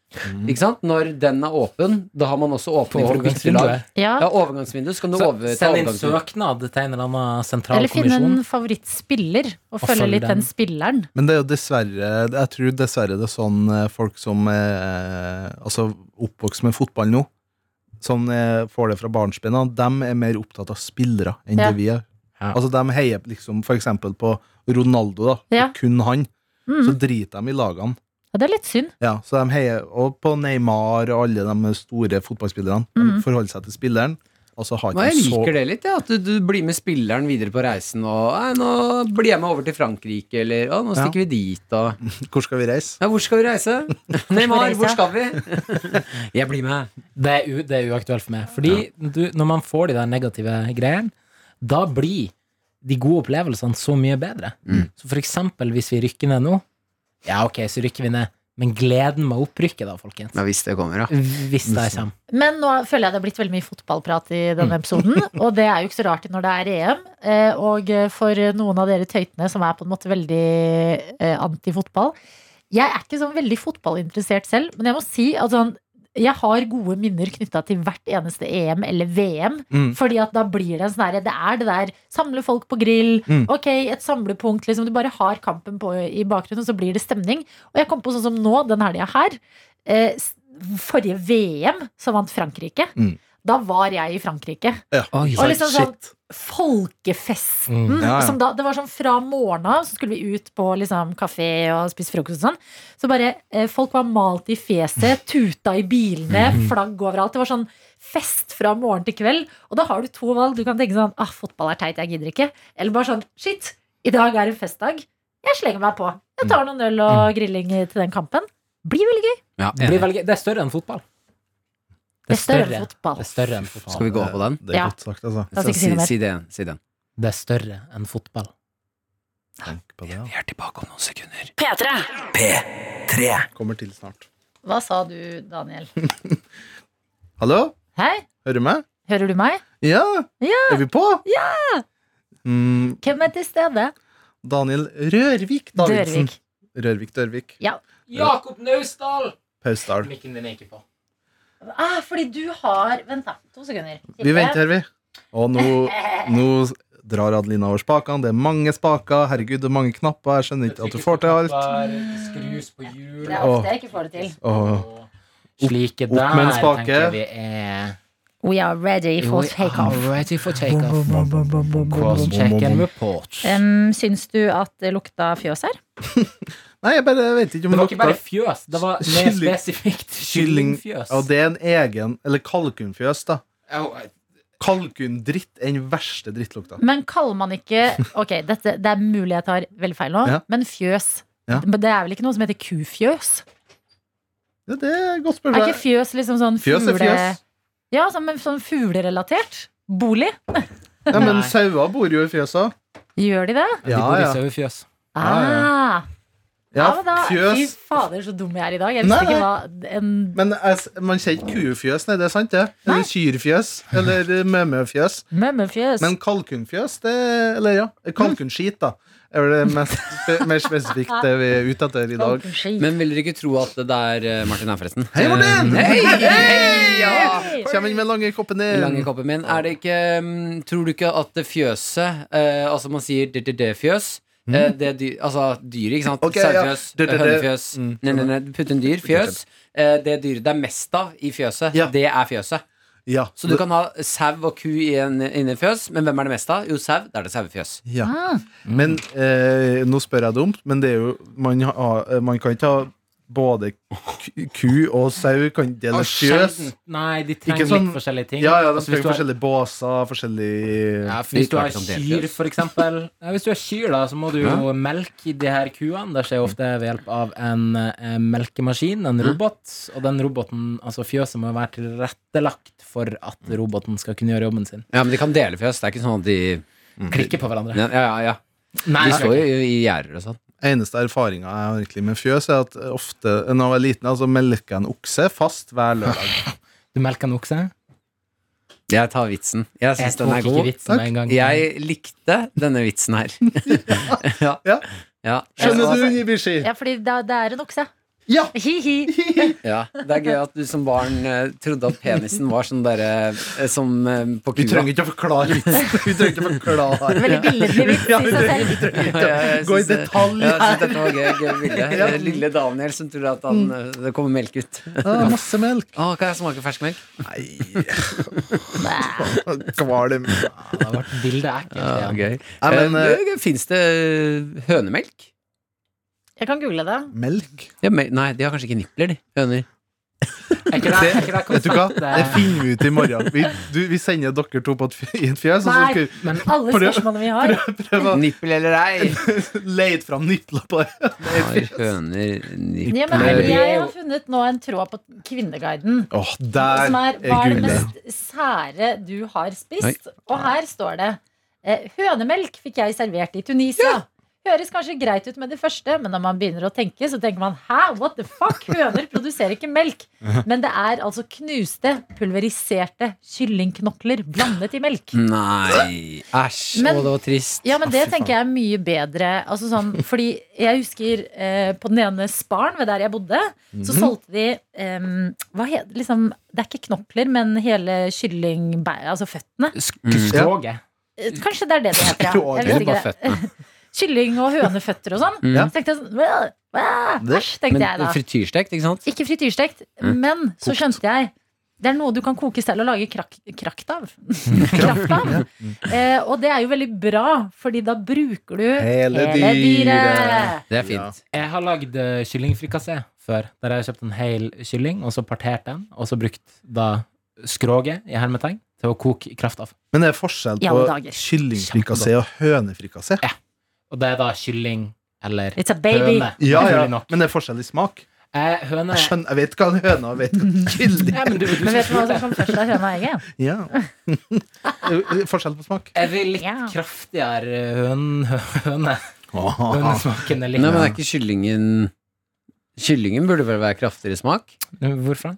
S3: Ikke sant? Når den er åpen, da har man også
S4: På
S3: åpning for å bytte lag.
S4: overgangsvinduet.
S2: Ja.
S3: Ja, overgangsvindu. Så kan du
S4: Så
S3: over til
S4: Send inn
S3: overgangsvindu.
S4: søknad til en eller annen sentral
S2: Eller finne en
S4: kommisjon.
S2: favorittspiller og, følge
S4: følge
S2: litt den
S4: den.
S2: spilleren.
S5: Men det er jo dessverre Jeg tror dessverre det er sånn eh, folk som eh, Altså oppvokst med fotball nå, som eh, får det fra barnsben av, de er mer opptatt av spillere enn
S2: Ja.
S5: det vi er.
S4: Ja.
S5: Altså De heier liksom f.eks. på Ronaldo, da.
S2: Ja.
S5: Kun han.
S2: Mm.
S5: Så driter de i lagene.
S2: Ja, det er litt synd.
S5: Ja, så de heier og på Neymar og alle de store fotballspillerne. De
S2: Mm.
S5: forholder seg til spilleren. Og så har
S3: Nei,
S5: ikke
S3: jeg
S5: de så
S3: liker det litt, ja, at du, du blir med spilleren videre på reisen. Og nei, 'Nå blir jeg med over til Frankrike', eller å, 'Nå
S5: Ja.
S3: stikker vi dit', og
S5: Hvor skal vi reise?
S3: ja, 'Hvor skal vi reise?' Neymar,
S2: reise?
S3: hvor skal vi? <laughs> jeg blir med.
S4: Det er, u det er uaktuelt for meg. Fordi du, når man får de der negative greiene, da blir de gode opplevelsene så mye bedre.
S3: Mm.
S4: Så for eksempel hvis vi rykker ned nå, ja, ok, så rykker vi ned. Men gleden med opprykket, da, folkens.
S3: Ja, hvis det kommer, ja.
S4: Hvis det
S5: Hvis-
S4: kommer.
S2: Men nå føler jeg det har blitt veldig mye fotballprat i denne
S5: Mm. <laughs>
S2: episoden. Og det er jo ikke så rart når det er EM. eh, Og for noen av dere tøytene som er på en måte veldig eh, anti-fotball Jeg er ikke sånn veldig fotballinteressert selv, men jeg må si at sånn jeg har gode minner knytta til hvert eneste EM eller VM.
S5: Mm.
S2: Fordi at da blir det en sånn herre Det er det der samle folk på grill.
S5: Mm.
S2: Ok, et samlepunkt. liksom Du bare har kampen på i bakgrunnen, og så blir det stemning. Og jeg kom på sånn som nå, den helga her. Eh, s- forrige VM, så vant Frankrike.
S5: Mm.
S2: Da var jeg i Frankrike.
S5: Ja.
S2: Og liksom sånn
S5: Shit.
S2: folkefesten.
S4: Mm,
S5: ja, ja.
S2: Som da, det var sånn fra morgenen av, så skulle vi ut på liksom, kafé og spise frokost og sånn. Så bare eh, folk var malt i
S5: <laughs>
S2: fjeset, tuta i bilene,
S5: Mhm.
S2: flagg overalt. Det var sånn fest fra morgen til kveld. Og da har du to valg. Du kan tenke sånn ah, fotball er teit, jeg gidder ikke. Eller bare sånn shit, i dag er en festdag. Jeg slenger meg på. Jeg
S5: Mm.
S2: tar noen øl og grilling til den kampen. Blir veldig gøy.
S3: ja
S4: Det, blir
S3: enig.
S4: veldig, gøy. det er større enn fotball.
S2: Det er større enn fotball.
S4: Det er større enn fotball.
S3: Skal vi gå på den?
S5: Det er
S2: Ja.
S5: godt sagt, altså.
S2: La oss
S3: Så
S2: ikke si noe mer.
S3: si det igjen. Si den.
S4: Det er større enn fotball.
S5: Tenk på det.
S3: Vi er tilbake om noen sekunder.
S5: Ja. Kommer til snart.
S2: Hva sa du, Daniel?
S5: Hallo?
S2: Hei,
S5: Hører du meg?
S2: hører du meg?
S5: Ja!
S2: Ja.
S5: Er vi på? Ja! Mm,
S2: Hvem er til stede?
S5: Daniel Rørvik Davidsen.
S2: Dørvik.
S5: Rørvik Dørvik.
S2: Ja.
S4: Jakob Naustdal!
S5: Pausdal.
S4: Mikken din er ikke på.
S2: Ah, fordi du har Vent, da. To sekunder. Eh,
S5: Vi venter, vi. Og nå,
S2: <laughs>
S5: nå drar Adelina over spakene. Det er mange spaker. Herregud, det er mange knapper. Jeg skjønner ikke at du får til alt.
S4: Skrus på hjul.
S2: Det er ofte jeg ikke får det til.
S5: Åh.
S4: Slike
S5: opp med en
S4: der
S5: spake.
S4: tenker vi er
S2: We are ready for takeoff.
S4: Ready for takeoff. Cross-check and report.
S2: Um, syns du at det lukta fjøs her?
S5: Nei, jeg bare vet ikke om
S4: Det var
S5: det
S4: ikke bare
S5: lukter
S4: fjøs, det var mer
S5: Kylling.
S4: spesifikt
S5: <laughs> kylling.
S4: kyllingfjøs.
S5: Og det er en egen Eller kalkunfjøs, da. Kalkundritt er den verste drittlukta.
S2: Men kaller man
S5: <laughs>
S2: ikke Ok, dette, det er mulig jeg tar veldig feil nå,
S5: Ja.
S2: men fjøs
S5: Ja.
S2: Men Det er vel ikke noe som heter kufjøs?
S5: Ja, det er et godt
S2: Er ikke
S5: spørsmål.
S2: fjøs liksom sånn
S5: Fjøs er fjøs.
S2: Ja, sånn, men sånn fuglerelatert? Bolig?
S5: Ja, men
S4: Nei.
S5: sauer bor jo i fjøsa.
S2: Gjør de det?
S4: De
S5: Ja,
S4: bor i
S5: ja.
S4: sauefjøs.
S5: Ja, ja.
S2: Ah, ja,
S5: ja
S2: men da, Fy
S5: fjøs.
S2: fader, så dum jeg er i dag. Jeg
S5: Nei,
S2: visste ikke hva en
S5: Men jeg, s- man sier ikke kuefjøs, nei, det er sant, det. Eller kyrfjøs. Eller mømøfjøs.
S2: mømmefjøs
S5: Men kalkunfjøs, det Eller ja, kalkunskit, da. Er vel det mest, spe- mer spesifikt det vi er ute etter i dag.
S2: Kalkunski.
S3: Men vil dere ikke tro at det er eh, Martin her, forresten?
S5: Hei, Martin!
S3: Hei! Ja!
S2: Hei!
S5: Kjem inn med lange koppen
S3: Den
S5: din.
S3: lange koppen min. Er det ikke mm, Tror du ikke at det fjøset eh, Altså, man sier det-det-det-fjøs. det er dyr, altså dyret, ikke sant?
S5: Ok, ja.
S3: Sauefjøs, eh,
S5: Det, det, det.
S3: hønefjøs
S5: Mm.
S3: Nei, nei, nei, putt en dyr. Fjøs. Eh, det dyret det er mest av i fjøset,
S5: Ja.
S3: det er fjøset.
S5: Ja.
S3: Så du kan ha sau og ku i en- inni fjøs, men hvem er det mest av? Jo, sau. Da er det sauefjøs.
S5: ja.
S2: Ah,
S5: Men eh, nå spør jeg dumt, men det er jo Man, har, man kan ikke ha både ku- ku og sau. Kan det er fjøs?
S4: Sjelden. Nei, de trenger
S5: Ikke sånn-
S4: litt forskjellige ting.
S5: Ja, ja, de
S4: Altså, hvis
S5: trenger
S4: du har-
S5: forskjellige båser, forskjellige
S4: Ja, for hvis du har
S3: Litt verdt om
S4: kyr,
S3: det.
S4: for eksempel ja, Hvis du har kyr, da, så må du jo melke de her kuene. Det skjer jo ofte ved hjelp av en eh, melkemaskin, en robot. Og den roboten, altså fjøset, må jo være tilrettelagt for at roboten skal kunne gjøre jobben sin.
S3: Ja, men de kan dele fjøs. Det er ikke sånn at de
S4: Klikke på hverandre.
S3: Ja, ja, ja.
S4: Nei,
S3: De
S4: det
S3: står
S4: skal ikke.
S3: jo i gjerder og sånn.
S5: Eneste erfaringa jeg har egentlig med fjøs, er at ofte når jeg var liten, altså melka en okse fast hver lørdag.
S4: du melker en okse.
S3: Jeg tar vitsen. Jeg syns
S4: Jeg
S3: den
S4: tok
S3: er
S4: ikke
S3: god.
S4: vitsen med en gang.
S3: Jeg likte denne vitsen her. ja.
S5: <laughs>
S3: Ja.
S5: Ja. Skjønner du, Nibishi?
S2: ja, fordi det, det er en okse.
S5: <laughs> Ja!
S2: Hi-hi.
S3: Ja, Det er gøy at du som barn eh, trodde at penisen var sånn derre eh, som eh, på
S5: Vi
S3: kua.
S5: trenger ikke å forklare vitsen. Vi trenger ikke å
S2: <laughs>
S5: forklare.
S2: Veldig billedlig vits i
S5: Ja, vi
S2: seg
S5: trenger-
S2: selv.
S5: vi trenger
S3: Ja,
S5: ikke
S3: jeg
S5: å gå i
S3: syns, eh,
S5: detalj.
S3: ja, jeg syns dette var gøy, gøy bilde.
S5: <laughs> Ja. Mm.
S3: Eh, Lille Daniel som tror at han, eh, det kommer melk ut. Å,
S5: Ah, masse melk.
S3: kan jeg smake fersk melk?
S5: Nei,
S2: Nei.
S5: kvalm.
S4: Ja, det har vært bildet ekkelt.
S3: Ja,
S4: igjen.
S3: gøy.
S5: Nei, men eh,
S3: Fins det eh, hønemelk?
S2: Jeg kan google det.
S5: melk
S3: Ja, mel nei, de har kanskje ikke nipler, de. Høner.
S4: Er ikke det, er ikke det
S5: Vet du hva?
S4: konseptet?
S5: Det finner vi ut i morgen. Vi, du, vi sender dere to på et, fj- i et fjøs, og så
S2: Nei.
S5: skal
S4: Men
S2: Alle
S5: Prøv-
S2: spørsmålene vi har.
S5: vi prøve
S3: Nippel eller ei?
S5: å <laughs> leite fram nipler på det.
S3: Har høner
S2: Ja, men
S3: nipler?
S4: Prøv.
S2: jeg har funnet nå en tråd på Kvinneguiden.
S5: Åh, der
S2: Som er
S5: er
S2: hva er det
S5: gullet.
S2: mest sære du har spist? Og her står det eh, Hønemelk fikk jeg servert i Tunisia. Høres kanskje greit ut med det første, men når man begynner å tenke, så tenker man hæ, what the fuck? Høner produserer ikke melk. Men det er altså knuste, pulveriserte kyllingknokler blandet i melk.
S3: Nei, æsj.
S2: Men-
S3: Å, det var trist.
S2: Ja, men det
S5: fy faen.
S2: tenker jeg er mye bedre. Altså sånn, fordi jeg husker eh, på den ene sparen ved der jeg bodde,
S5: Mhm.
S2: så solgte de em, hva het, liksom, Det er ikke knokler, men hele kyllingbæret, altså føttene.
S5: Mm.
S4: Skroget.
S2: Eh, Kanskje det er det det heter, ja.
S5: <laughs>
S2: Jeg
S5: Det er Mm.
S2: vet ikke det. Kylling- og høneføtter og sånn.
S3: Ja.
S2: Så tenkte jeg sånn "Bæ, bæ, Æsj, tenkte jeg
S3: Men
S2: da.
S3: frityrstekt, ikke sant?
S2: Ikke frityrstekt, men så skjønte jeg det er noe du kan koke selv og lage krak krakt av. Kraft av. <laughs> Eh, og det er jo veldig bra, fordi da bruker du
S5: Hele dyret.
S3: Det er fint.
S4: Jeg har lagd eh, kyllingfrikassé før. Der jeg har kjøpt en hel kylling, og så partert den, og så brukt da skroget i hermetegn til å koke kraft av.
S5: Men det er forskjell
S2: I
S5: på
S2: alle dager.
S5: kyllingfrikassé og hønefrikassé.
S4: Og det er da kylling eller
S2: It's a baby.
S4: høne.
S5: Ja, ja,
S4: naturlig nok.
S5: men det er forskjell i smak.
S4: Eh, høne
S5: Jeg skjønner, jeg vet hva en høne er, og vet hva en kylling
S4: Nei, men du, du
S2: Men vet du hva altså? som
S4: spurte.
S2: kom først av høna og egget?
S5: ja. <laughs> Forskjell på smak.
S4: Jeg vil litt
S2: Ja.
S4: kraftigere eh, høn, høne.
S3: Nei,
S4: Hønesmaken er
S3: men
S4: litt
S3: det er ikke kyllingen Kyllingen burde vel være kraftigere smak?
S4: Hvorfor?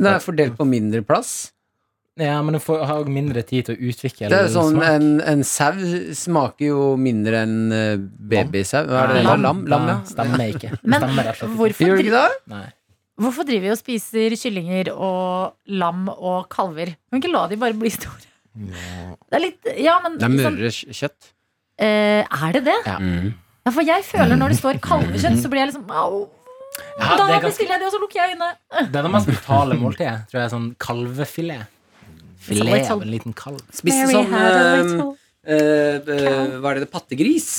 S3: Den er fordelt på mindre plass.
S4: Ja, men du får har jo mindre tid til å utvikle
S3: Det er jo sånn,
S4: smak.
S3: En, en sau smaker jo mindre enn eh, babysau. Hva er det?
S4: Nei,
S3: Lam? Lam, lam ja.
S4: Stemmer ikke.
S2: Men
S4: Stemmer rett og slett ikke.
S2: hvorfor,
S3: Gjør det
S2: dri
S3: ikke det?
S4: Nei.
S2: hvorfor driver vi og spiser kyllinger og lam og kalver? Kan vi ikke la de bare bli store? Det er litt Ja, men
S3: Det er
S2: liksom,
S3: mørre kj- kjøtt.
S2: eh, Er det det?
S4: Ja.
S3: sånn- Mm.
S2: Ja, for jeg føler når det står kalvekjøtt, så blir jeg liksom au.
S4: Ja, det,
S2: Da
S4: er ganske,
S2: bestiller jeg det, og så lukker jeg øynene.
S4: det er det mest brutale måltidet. Tror jeg er sånn kalvefilet. Filet av
S5: sånn
S4: en liten kalv.
S3: Spiste
S2: Mary
S3: sånn
S2: had a
S3: eh,
S2: little-
S3: eh, eh, Hva er det? Pattegris.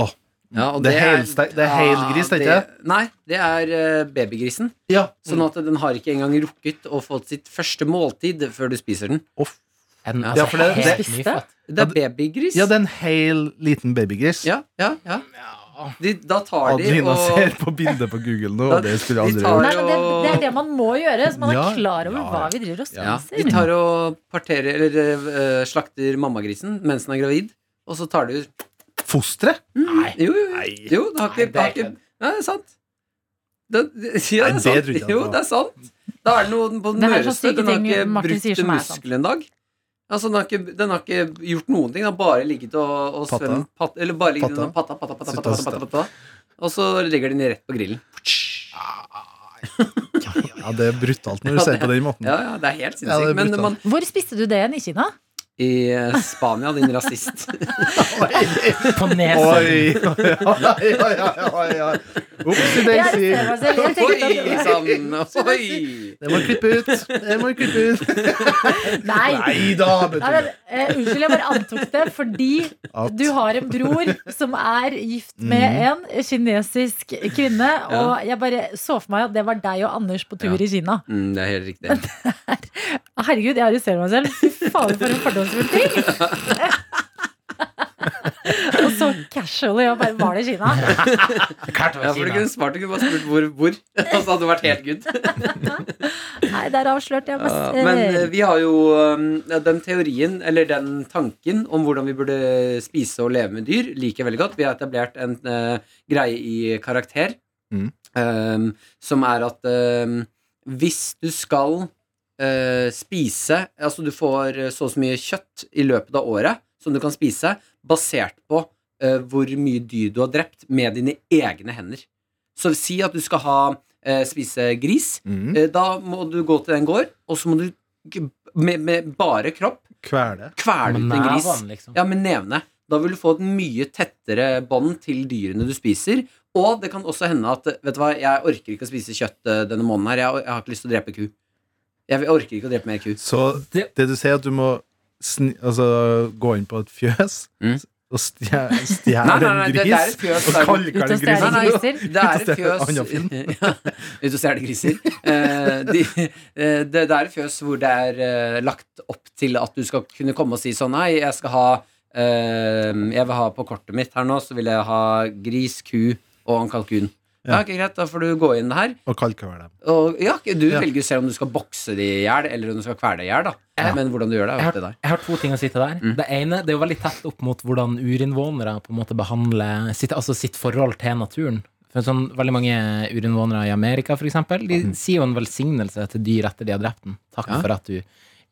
S5: Åh,
S3: Ja, og
S5: Det er helsteik- det er helgris, tenker
S3: det- Nei, det er eh, babygrisen.
S5: ja.
S3: Sånn at den har ikke engang rukket å få sitt første måltid før du spiser den.
S5: Off.
S4: Er den altså
S5: Ja, for det-
S4: helt
S2: det-
S4: nyfødt?
S3: Det er babygris.
S5: ja, det er en hel liten babygris.
S3: ja, ja, ja. De, da tar de
S5: Adelina ser
S3: og
S5: på bildet på
S3: <laughs>
S5: Google nå, og det skulle jeg
S3: De
S5: aldri
S3: tar-
S5: gjort.
S2: Nei, men det, det er det man må gjøre, så man
S5: Ja,
S2: er klar over
S5: ja.
S2: hva vi driver og spiser.
S3: ja, De tar og parterer Eller eh, slakter mammagrisen mens den er gravid, og så tar de ut Mm,
S5: Fosteret?
S4: Nei.
S3: Jo, jo, jo.
S5: Nei.
S3: jo det har
S4: Nei,
S3: ikke
S4: det er
S3: har ikke- Nei, det er sant. Det, det, <laughs> ja, det er
S5: Nei, det
S3: sant.
S5: trodde jeg
S3: Jo,
S5: ikke.
S3: det er sant. Da er det noe på den
S2: Det her er sånn
S3: møreste.
S2: syke
S3: Den har
S2: ting
S3: ikke
S2: Martin sier
S3: brukt en
S2: som er sant.
S3: muskel en dag. Altså, den, har ikke, den har ikke gjort noen ting. Den har bare ligget og, og
S5: Patta.
S3: svømt pat, Eller bare ligget
S5: Patta.
S3: under patta, patta, patta,
S5: Sitt
S3: patta,
S5: og
S3: patta, patta, patta. Og så legger den rett på grillen.
S5: Ja, ja, Ja, det er brutalt når du ser det på den måten.
S3: Ja, ja, det er helt
S5: Mm. Ja, det
S3: sinnssykt.
S5: er
S3: Men
S5: brutalt.
S3: man,
S2: Hvor spiste du det igjen i Kina?
S3: i eh, Spania, din rasist
S4: På nesen.
S5: Oi, oi, oi, oi, oi, oi. Upsi daisy.
S2: arresterer meg selv. <laughs> Jeg tenkte at-
S3: Oi
S2: <laughs>
S3: sann! Oi!
S5: Det må jeg klippe ut. Det må jeg klippe ut.
S2: Nei.
S5: Nei da,
S2: Nei,
S5: vet
S2: men, eh, unnskyld, jeg bare antok det, fordi
S5: du. At,
S2: du har en bror som er gift med en kinesisk kvinne. Og jeg bare så for meg at det var deg og Anders på tur
S3: Ja.
S2: i Kina.
S3: Mm, det er helt
S2: <laughs>
S3: riktig.
S2: Herregud, jeg arresterer meg selv. Fy faen, for en fordomsfull ting! og så casually, og bare var det Kina?
S3: Ja, for du kunne svart, du kunne bare spurt hvor, hvor. <laughs> Altså, hadde det vært helt good.
S2: Nei, der avslørte jeg meg selv.
S3: Men eh, vi har jo um, ja, den teorien, eller den tanken, om hvordan vi burde spise og leve med dyr, liker jeg veldig godt. Vi har etablert en eh, greie i karakter,
S5: Mm.
S3: um, som er at um, hvis du skal eh, spise Altså, du får eh, så og så mye kjøtt i løpet av året som du kan spise, basert på eh, hvor mye dyr du har drept med dine egne hender. Så si at du skal ha eh, spise gris.
S5: Mm.
S3: Eh, Da må du gå til en gård, og så må du g- med, med bare kropp
S5: Kvele.
S3: kvele ut en gris.
S4: Neven, liksom.
S3: Ja, med nevene. Da vil du få et mye tettere bånd til dyrene du spiser. Og det kan også hende at vet du hva, jeg orker ikke å spise kjøtt eh, denne måneden her. Jeg, jeg har ikke lyst til å drepe ku. Jeg orker ikke å drepe mer ku.
S5: Så
S4: Det-
S5: det du sier, er at du må sni, altså, gå inn på et fjøs
S3: Mm.
S5: og stjele stjel
S3: Nei, nei,
S5: en
S3: nei, det- det er
S5: gris
S3: et fjøs,
S5: og
S3: det er-
S2: Ut
S5: kalle
S2: og stjele
S5: den
S3: Nei,
S5: grisen.
S3: nei,
S2: griser.
S3: Det er
S5: Ut
S3: et
S5: og stjele
S3: fjøs
S5: andre film.
S3: <laughs> Ja, Ut og stjele griser. Eh, de, eh, det, det er et fjøs hvor det er eh, lagt opp til at du skal kunne komme og si sånn Nei, jeg skal ha eh, Jeg vil ha på kortet mitt her nå, så vil jeg ha gris, ku og en kalkun. Ja,
S5: Ja.
S3: ok, Greit, da får du gå inn her.
S5: Og kalkevele dem.
S3: Og ja, Du
S5: Ja.
S3: velger jo selv om du skal bokse de i hjel, eller om du skal kvele i hjel. da.
S4: Ja.
S3: Men hvordan du gjør det, er
S4: Jeg
S3: jo
S4: har,
S3: opp til deg.
S4: jeg har to ting å si til der.
S3: Mm.
S4: Det ene det er jo veldig tett opp mot hvordan urinnvånere på en måte behandler sitt, altså sitt forhold til naturen. For sånn, veldig mange urinnvånere i Amerika for eksempel, de sier jo en velsignelse til dyr etter de har drept den. Takk
S3: Mm. Ja.
S4: for at du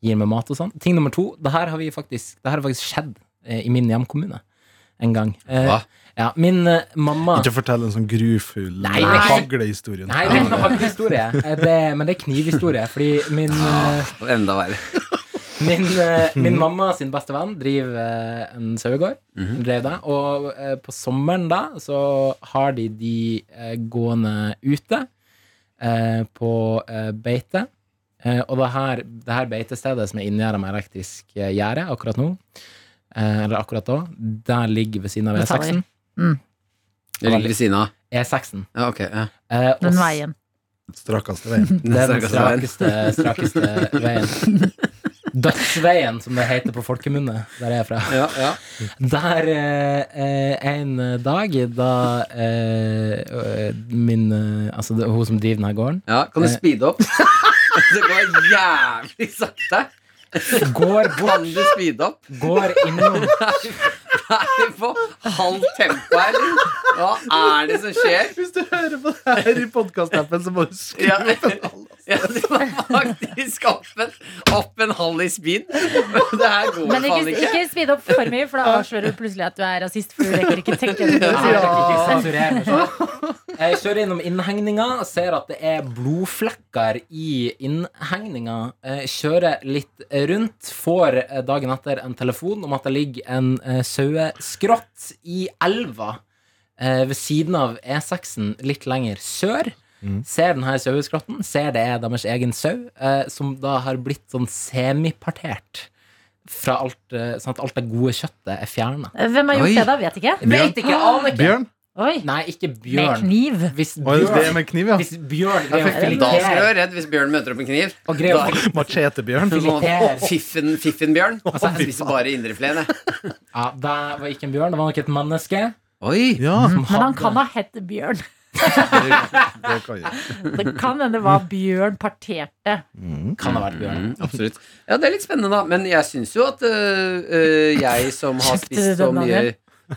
S4: gir meg mat og sånn. Ting nummer to, det her har, vi faktisk, det her har faktisk skjedd eh, i min hjemkommune en gang. Eh,
S3: Hva?
S4: ja, min eh, mamma
S5: Ikke fortell en sånn grufull
S4: Nei,
S5: eh,
S4: nei.
S5: haglehistorien.
S4: Nei, det er ikke hagehistorie, Eh, det- men det er knivhistorie. Fordi min eh,
S3: Og Enda verre. <laughs>
S4: Min, eh, min mamma sin beste venn driver eh, en sauegård.
S3: Mhm.
S4: Drev det. Og eh, på sommeren da så har de de eh, gående ute eh, på eh, beite. Eh, og det her, det her beitestedet som er inngjerda med elektrisk eh, gjerde akkurat nå, eh, eller akkurat da, der ligger ved siden av E
S2: Metaller.
S4: E6-en.
S3: Det ligger ved siden av.
S4: E6-en.
S3: Ja, ok. Ja.
S4: Eh,
S2: <laughs>
S4: og
S2: Den
S4: s-
S2: veien.
S5: Strakeste veien.
S4: Det er den
S3: Stakkars veien.
S4: strakeste,
S3: <laughs>
S4: strakeste veien. Dødsveien, som det heter på folkemunne der jeg er fra.
S3: Ja, ja.
S4: Der eh, eh, en dag da eh, eh, min eh, Altså det- hun som driver denne gården,
S3: ja. Eh. Kan du speede <laughs> opp? det går jævlig sakte.
S4: går bort,
S3: Kan du speede opp?
S4: går innom
S3: Er det på halvt tempo her? eller? Hva er det som skjer?
S5: <laughs> Hvis du hører på det her i podkastappen, så må du skru
S3: Ja.
S5: opp en halv.
S3: Ja, det var faktisk opp en, opp en halv i speed. Det her går
S2: Men ikke,
S3: faen ikke.
S2: ikke speed opp for mye,
S3: <laughs>
S2: for da avslører du plutselig at du er rasist. For du rekker ikke tenke det.
S4: Nei, jeg
S2: Ja.
S4: kan ikke sensurere meg selv. Jeg kjører innom innhegninga og ser at det er blodflekker i innhegninga. Jeg Kjører litt rundt, får eh, dagen etter en telefon om at det ligger en eh, saueskrott i elva eh, ved siden av E6-en litt lenger sør. Ser denne saueskrotten, ser det er deres egen sau, eh, som da har blitt sånn semipartert. Fra alt, eh, sånn at alt det gode kjøttet er fjerna.
S2: Hvem har
S3: Oi.
S2: gjort det, da? Vet ikke.
S4: Vet ikke, aner ikke.
S5: Bjørn?
S2: Oi.
S4: Nei, ikke
S2: Med
S4: bjørn.
S2: kniv.
S4: Hvis
S5: Å, det er
S4: bjørn,
S5: med kniv, ja.
S4: hvis bjørn
S2: fikk-
S4: greier å
S3: Da skal du
S4: filetere
S3: være redd hvis Bjørn møter opp en kniv.
S4: og greier å
S5: Machetebjørn.
S4: filetere
S3: sånn Fiffen, fiffen Bjørn.
S4: Altså,
S3: jeg spiser bare indrefileten, jeg.
S4: ja, Det var ikke en bjørn, det var nok et menneske.
S3: Oi.
S5: Ja.
S4: som
S2: Men han
S4: hadde-
S2: kan ha hett Bjørn.
S5: <laughs> Det kan jeg.
S2: Det kan hende det var Bjørn parterte.
S4: kan ha vært bjørn.
S3: Mm, absolutt. Ja, det er litt spennende, da. Men jeg syns jo at øh, øh, jeg som har
S2: Kjøpte du
S3: spist så
S2: den,
S3: mye
S2: Daniel?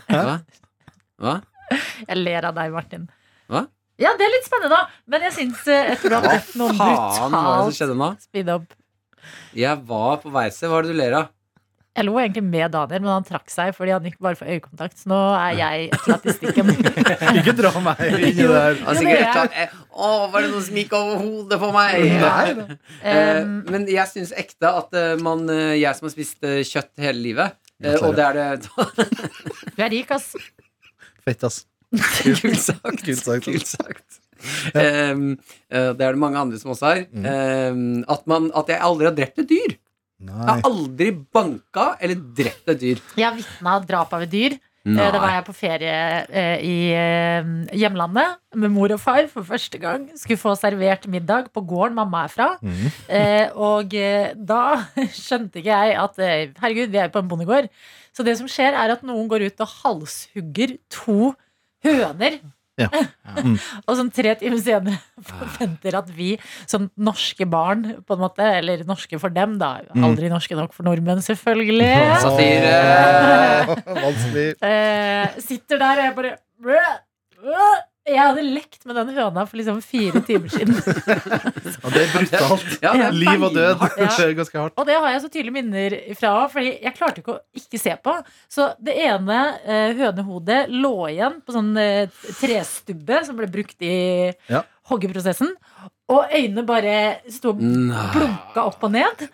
S3: Hva? Hva?
S2: Jeg ler av deg, Martin.
S3: Hva?
S2: Ja, det er litt spennende, da. Men jeg syns jeg tror du har drept noen
S3: Faen, hva er det som
S2: brutalt
S3: skjedde nå?
S2: speed up.
S3: Jeg var på vei til Hva er det du ler av?
S2: Jeg lo egentlig med Daniel, men han trakk seg fordi han gikk bare for øyekontakt. Så nå er jeg i statistikken.
S5: Ikke dra meg inn i det her.
S3: Han
S2: Jo,
S3: sikkert
S2: det er- Mm,
S3: klart, eh, Å, var det noe som gikk over hodet på meg?
S5: Nei, da.
S3: Eh,
S2: Um,
S3: men jeg syns ekte at eh, man, eh, jeg som har spist eh, kjøtt hele livet eh, og det <laughs> er det
S2: du er rik, ass.
S5: Fett, ass.
S3: Kult sagt. altså.
S5: Kult sagt.
S3: Kult sagt. Em, eh, det er det mange andre som også har. Em, at, man, at jeg aldri har drept et dyr. Jeg
S5: Nei.
S3: har aldri banka eller drept et dyr.
S2: Jeg har vitna drap av et dyr. Eh, Da var jeg på ferie eh, i eh, hjemlandet med mor og far for første gang. Skulle få servert middag på gården mamma er fra.
S5: Mhm.
S2: Eh, og eh, da <laughs> skjønte ikke jeg at eh, herregud, vi er jo på en bondegård. Så det som skjer, er at noen går ut og halshugger to høner.
S5: Ja.
S2: <laughs>
S5: Mm.
S2: og sånn tre timer senere <laughs> forventer at vi som norske barn, på en måte, eller norske for dem, da.
S5: Mm.
S2: Aldri norske nok for nordmenn, selvfølgelig.
S3: <laughs> Satire.
S5: Åh, <laughs> Vanskelig.
S2: Eh, sitter der og jeg bare «Brø, brø». Jeg hadde lekt med den høna for liksom fire timer siden.
S5: Ja, det er brutalt.
S3: Ja, det er
S5: Liv og død.
S3: beinhardt.
S5: Det skjer ganske hardt.
S2: Og det har jeg så tydelige minner fra Fordi jeg klarte ikke å ikke se på. Så det ene eh, hønehodet lå igjen på sånn eh, trestubbe som ble brukt i
S5: Ja.
S2: hoggeprosessen. Og øynene bare sto og
S3: Nei.
S2: plunka opp og ned.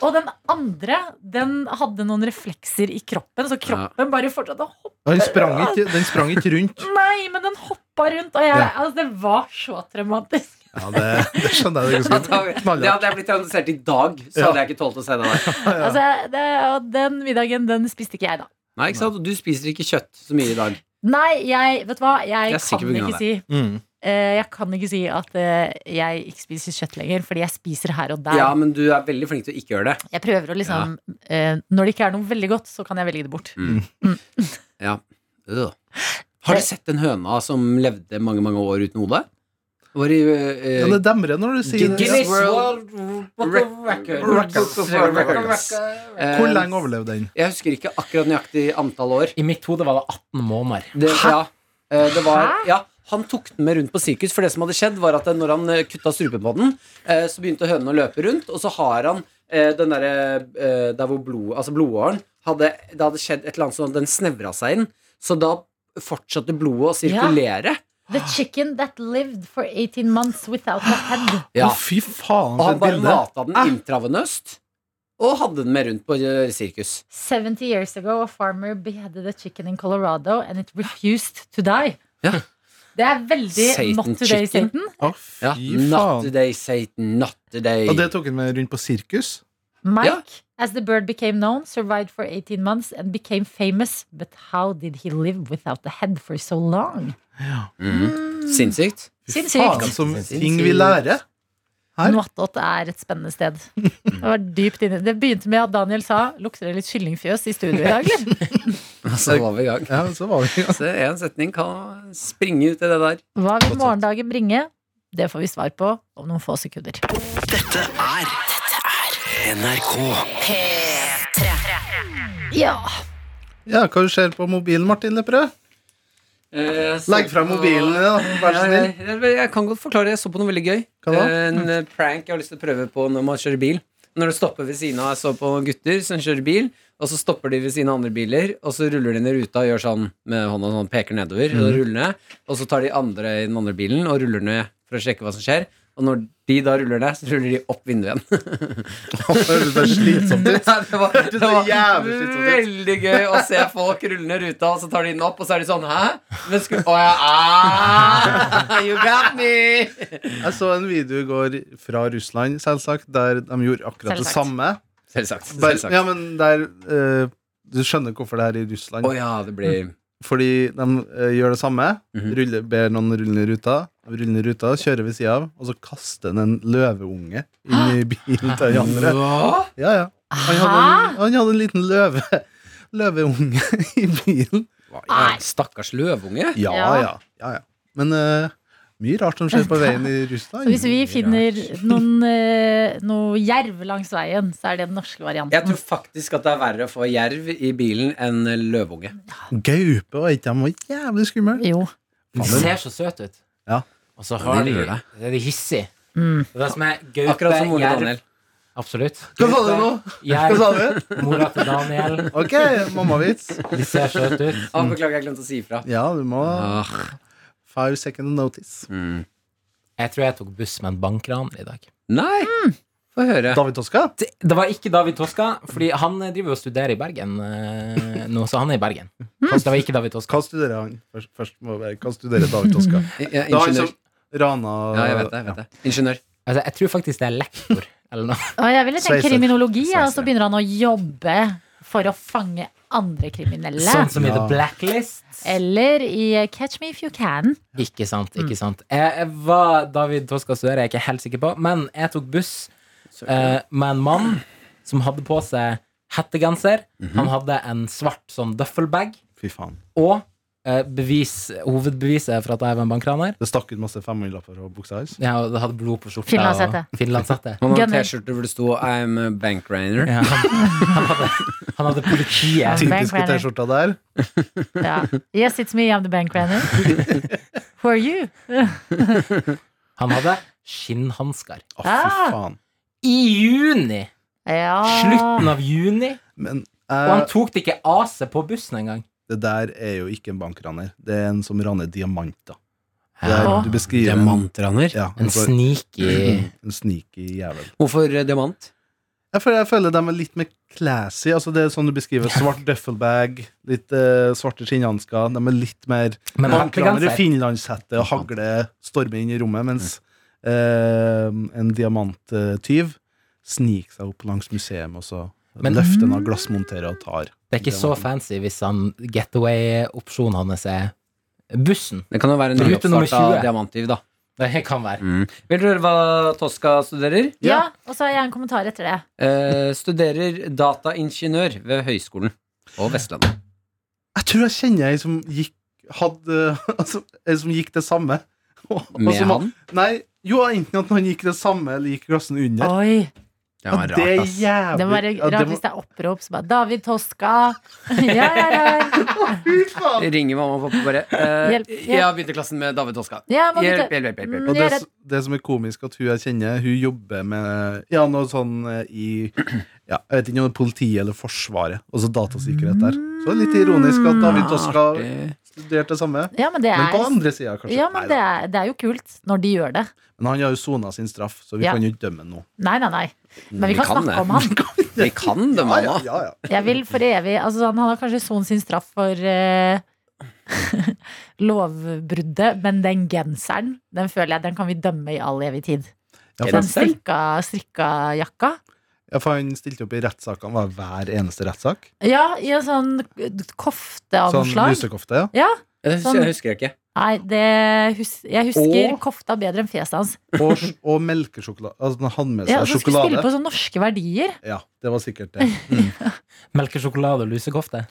S2: Og den andre den hadde noen reflekser i kroppen, så kroppen bare fortsatte å hoppe.
S5: Og Den sprang ikke, den sprang ikke rundt.
S2: Nei, men den hoppa rundt, og jeg,
S5: Ja.
S2: altså, det var så traumatisk.
S5: Ja, det, det skjønner jeg. Det er
S3: Det
S5: ganske godt. Knallhardt.
S3: hadde jeg blitt traumatisert i dag, så hadde jeg ikke tålt å se det der.
S2: Altså, det, og den middagen den spiste ikke jeg, da.
S3: Nei, ikke sant? Du spiser ikke kjøtt så mye i dag.
S2: Nei, jeg, vet du hva, jeg,
S3: Jeg er
S2: kan
S3: sikker på grunn av
S2: ikke si
S5: Mm.
S2: Eh, Jeg kan ikke si at eh, jeg ikke spiser kjøtt lenger, fordi jeg spiser her og der.
S3: Ja, men du er veldig flink til å ikke gjøre det.
S2: Jeg prøver å liksom eh, Når det ikke er noe veldig godt, så kan jeg velge det bort.
S3: Ja. Øh. Har du sett den høna som levde mange, mange år uten hode? Var i, eh,
S5: Ja, det demrer når du sier det.
S3: Guinness
S5: Ja.
S3: World Records.
S5: Records.
S3: Eh,
S5: Hvor lenge overlevde den?
S3: Jeg husker ikke akkurat nøyaktig antall år.
S4: I mitt hode var det 18 måneder.
S3: Det, ja, eh, det var, ja, han tok den med rundt på sirkus, for det som hadde skjedd, var at eh, når han eh, kutta strupen på den, eh, så begynte hønen å løpe rundt, og så har han eh, den derre eh, Der hvor blod, altså blodåren hadde, Det hadde skjedd et eller annet sånn at den snevra seg inn, så da fortsatte blodet å sirkulere.
S2: The chicken that lived for 18 months without a head.
S5: Å, fy
S3: Og
S5: faen, for
S3: han
S5: et
S3: bare
S5: bilde.
S3: mata den intravenøst, og hadde den med rundt på eh, sirkus.
S2: 70 years ago, a farmer beheaded a chicken in Colorado, and it refused to die.
S3: Ja.
S2: Det er veldig
S3: Satan
S2: not today,
S3: chicken.
S2: Satan.
S5: Å,
S3: Ja.
S5: fy
S3: Not
S5: faen.
S3: today, Satan. Not today.
S5: Og det tok han med rundt på sirkus?
S2: Mike,
S3: Ja.
S2: as the bird became known, survived for 18 months and became famous. But how did he live without the head for so long?
S3: Mhm. Sinnssykt.
S5: Fy
S2: Sinnssykt.
S5: faen, som ting vi lærer. Her.
S2: Noatot er et spennende sted. Det, var dypt inne. det begynte med at Daniel sa 'lukter det litt kyllingfjøs i studio i dag',
S3: <laughs>
S2: eller?
S5: Altså.
S3: Så var vi i gang.
S5: Ja, så var vi
S3: Så eh, en setning kan springe ut i det der.
S2: Hva vil morgendagen bringe? Det får vi svar på om noen få sekunder. Ja,
S5: Ja, hva du ser på mobilen, Martin Lepperød?
S3: Eh,
S5: Legg fra mobilen, din, da. Vær så snill. <laughs>
S3: Jeg, jeg kan godt forklare. Jeg så på noe veldig gøy.
S5: Hva da?
S3: En eh, prank jeg har lyst til å prøve på når man kjører bil. Når det stopper ved siden av Jeg så på noen gutter som kjører bil, og så stopper de ved siden av andre biler, og så ruller de ned ruta og gjør sånn med hånda, sånn peker nedover,
S5: Mhm.
S3: og ruller ned. Og så tar de andre i den andre bilen og ruller ned for å sjekke hva som skjer. Og når de da ruller ned, så ruller de opp vinduet igjen. <laughs>
S5: Det høres slitsomt ut.
S3: Nei, det var, det
S5: Det så
S3: var
S5: jævlig slitsomt ut.
S3: veldig gøy å se folk rulle ned ruta, og så tar de den opp, og så er de sånn Hæ? Men sku... Å ja, ah, you got me!
S5: Jeg så en video i går fra Russland, selvsagt, der de gjorde akkurat det
S2: Selvsagt.
S5: samme.
S3: Selvsagt.
S5: Bare,
S3: Selvsagt.
S5: ja, men der eh, Du skjønner hvorfor det her er i Russland.
S3: Å ja, det blir
S5: Fordi de eh, gjør det samme.
S3: Mhm.
S5: ruller, ber noen rulle ned ruta, rulle ned ruta, kjører ved sida av, og så kaster han en løveunge inn i bilen til de andre.
S3: Hva?
S5: Ja, ja. Han hadde, en, han hadde en liten løve <laughs> løveunge i bilen.
S2: Nei.
S3: Stakkars løvunge.
S5: Ja,
S2: Ja.
S5: ja. ja, ja. Men eh, mye rart som skjer på veien i Russland.
S2: så hvis vi finner noen, eh, noe jerv langs veien, så er det den norske
S3: Jeg
S2: varianten.
S3: tror faktisk at det er verre å få jerv i bilen enn løvunge.
S5: Gaupe og ikke, de var jævlig skumle.
S2: Jo.
S4: De ser så søte ut.
S5: Ja.
S4: Og så har
S3: De
S4: de,
S3: gjør det.
S4: er de hissige.
S2: Mm.
S4: Det er det som er gaupe,
S3: Akkurat som Ole
S4: jerv-
S3: Daniel.
S4: Absolutt.
S5: Hva sa du nå? Hva sa
S4: Jeg,
S5: du?
S4: mora til Daniel,
S5: Ok, mammavits.
S4: de ser søte ut.
S3: Ah, beklager, jeg glemte å si ifra.
S5: Ja, du må
S3: Ah,
S5: Five second notice.
S3: mm.
S4: Jeg tror jeg tok buss med en bankran i dag.
S3: Nei!
S5: Mm.
S3: Få høre.
S5: David Toska?
S4: Det, det var ikke David Toska, Fordi han driver jo og studerer i Bergen eh, nå, så han er i Bergen.
S2: Mm.
S4: Så det var ikke David Toska.
S5: Hva studerer han? Først, først må vi Hva studerer David Toska?
S3: I- ja,
S5: <laughs> Det var han
S3: Ingeniør.
S5: som rana
S3: Ja, jeg vet det. jeg vet det Ingeniør.
S4: Altså, jeg tror faktisk det er lektor eller noe.
S2: Og jeg ville tenkt
S5: Sveiser.
S2: kriminologi, ja, og så
S5: Sveiser.
S2: begynner han å jobbe for å fange andre kriminelle.
S4: Sånn som i The
S5: Ja.
S4: Blacklist.
S2: Eller i eh, Catch me if you can.
S4: Ikke sant. ikke sant Mm. Jeg, jeg var David Toska studerer, jeg er ikke helt sikker på. Men jeg tok buss eh, med en mann som hadde på seg hettegenser. Han hadde en svart sånn døffelbag.
S5: Fy faen.
S4: Og eh, bevis, hovedbeviset for at jeg var en bankraner
S5: Det stakk ut masse femhundrelapper og buksa hans.
S4: Jeg hadde- hadde blod på skjorta.
S2: Finlandshette.
S4: og- Finlandshette.
S3: Han hadde en
S2: Gunner.
S3: T-skjorte hvor det sto 'I'm a bank rainer'.
S4: Ja, han, han, hadde, han hadde politiet.
S5: Typiske
S2: Bank runner.
S5: T-skjorta der.
S2: Ja. Yes, it's me, I'm the bank runner.
S5: <laughs>
S2: Who are you?
S4: Han hadde skinnhansker.
S5: Å, fy
S2: Ah.
S5: faen.
S4: I juni!
S2: Ja.
S4: Slutten av juni.
S5: Men
S4: Og han
S5: eh,
S4: tok det ikke av seg på bussen engang.
S5: det der er jo ikke en bankraner. Det er en som raner diamanter. Det er,
S4: Ja.
S5: du beskriver <clears throat>
S3: Diamantraner?
S5: Ja,
S4: En Mm.
S5: altså,
S4: sneaky
S5: en sneaky jævel.
S3: Hvorfor eh, diamant?
S5: Jeg føler, jeg føler de er litt mer classy. Altså det er sånn du beskriver Svart døffelbag, litt eh, svarte skinnhansker. De er litt mer
S4: Men
S5: bankraner i
S4: hettegenser.
S5: finlandshette og hagle stormer inn i rommet, mens eh, en diamanttyv sniker seg opp langs museet og så
S4: Men-
S5: løfter en av glassmonteret og tar.
S4: Det er ikke så fancy hvis han getaway-opsjonen hans er bussen.
S3: Det kan jo være en
S4: Rute nummer
S3: nyoppstarta
S4: 20.
S3: diamanttyv, da.
S4: Det kan være.
S3: Mm. Vil du høre hva Toska studerer?
S2: ja, og så har jeg en kommentar etter det.
S3: Eh, studerer dataingeniør ved Høgskolen på Vestlandet.
S5: Jeg tror jeg kjenner ei som gikk hadde, <laughs> altså, ei som gikk det samme. <laughs> Og- og
S3: Med
S5: som-
S3: han.
S5: Nei, jo, enten at han gikk det samme, eller gikk klassen under.
S3: Ah.
S2: Oi.
S3: Det
S5: Ja,
S3: var
S5: det er
S3: rart, ass.
S5: jævlig
S2: Det må være
S5: ja, det
S2: rart
S5: må-
S2: hvis det er opprop som bare David Toska. <laughs> Ja, ja, ja.
S3: Ringer mamma og pappa bare. eh,
S2: Hjelp, hjelp.
S3: Jeg har begynt i klassen med David Toska.
S2: ja man,
S3: Hjelp, hjelp, hjelp. hjelp, hjelp.
S5: Og det,
S2: Gjør et-
S5: det som er komisk, at hun jeg kjenner, hun jobber med ja, noe sånn eh, i <clears throat> ja, Jeg vet ikke om det er politiet eller Forsvaret. Og så datasikkerhet der. Så det er litt ironisk at David Toska
S3: Mm. Ah, Artig.
S5: studerte det samme.
S2: ja, men det
S5: Men på
S2: er
S5: andre sida, kanskje.
S2: ja, men
S5: Nei
S2: det
S5: da.
S2: er, det er jo kult når de gjør det.
S5: men han har jo sona sin straff, så vi
S2: Ja.
S5: kan jo ikke dømme ham nå.
S2: Nei, nei, nei. Mm, Men vi kan
S3: kan det.
S2: snakke om han.
S3: Vi kan det,
S5: Ja, ja,
S3: mamma.
S5: ja, ja.
S2: Jeg vil for evig altså, sånn, Han har kanskje sonet sin straff for eh, <laughs> lovbruddet, men den genseren, den føler jeg den kan vi dømme i all evig tid. Den
S5: Ja, for,
S3: Genseren?
S2: strikka, strikka jakka.
S5: ja, for han stilte opp i rettssakene var hver eneste rettssak.
S2: Ja, i en sånn
S5: Sånn
S2: kofteanslag.
S5: lusekofte, ja.
S2: ja.
S3: Det
S2: Sånn.
S3: husker- husker jeg ikke.
S2: Nei, det hus jeg husker
S3: Og-
S2: kofta bedre enn fjeset hans. <laughs>
S5: Og, sj- og melkesjokolade. Altså, han hadde med seg
S2: Ja, så skulle spille
S5: sjokolade.
S2: på sånne norske verdier.
S5: Ja, det var sikkert det.
S4: Melkesjokolade og lusekofte.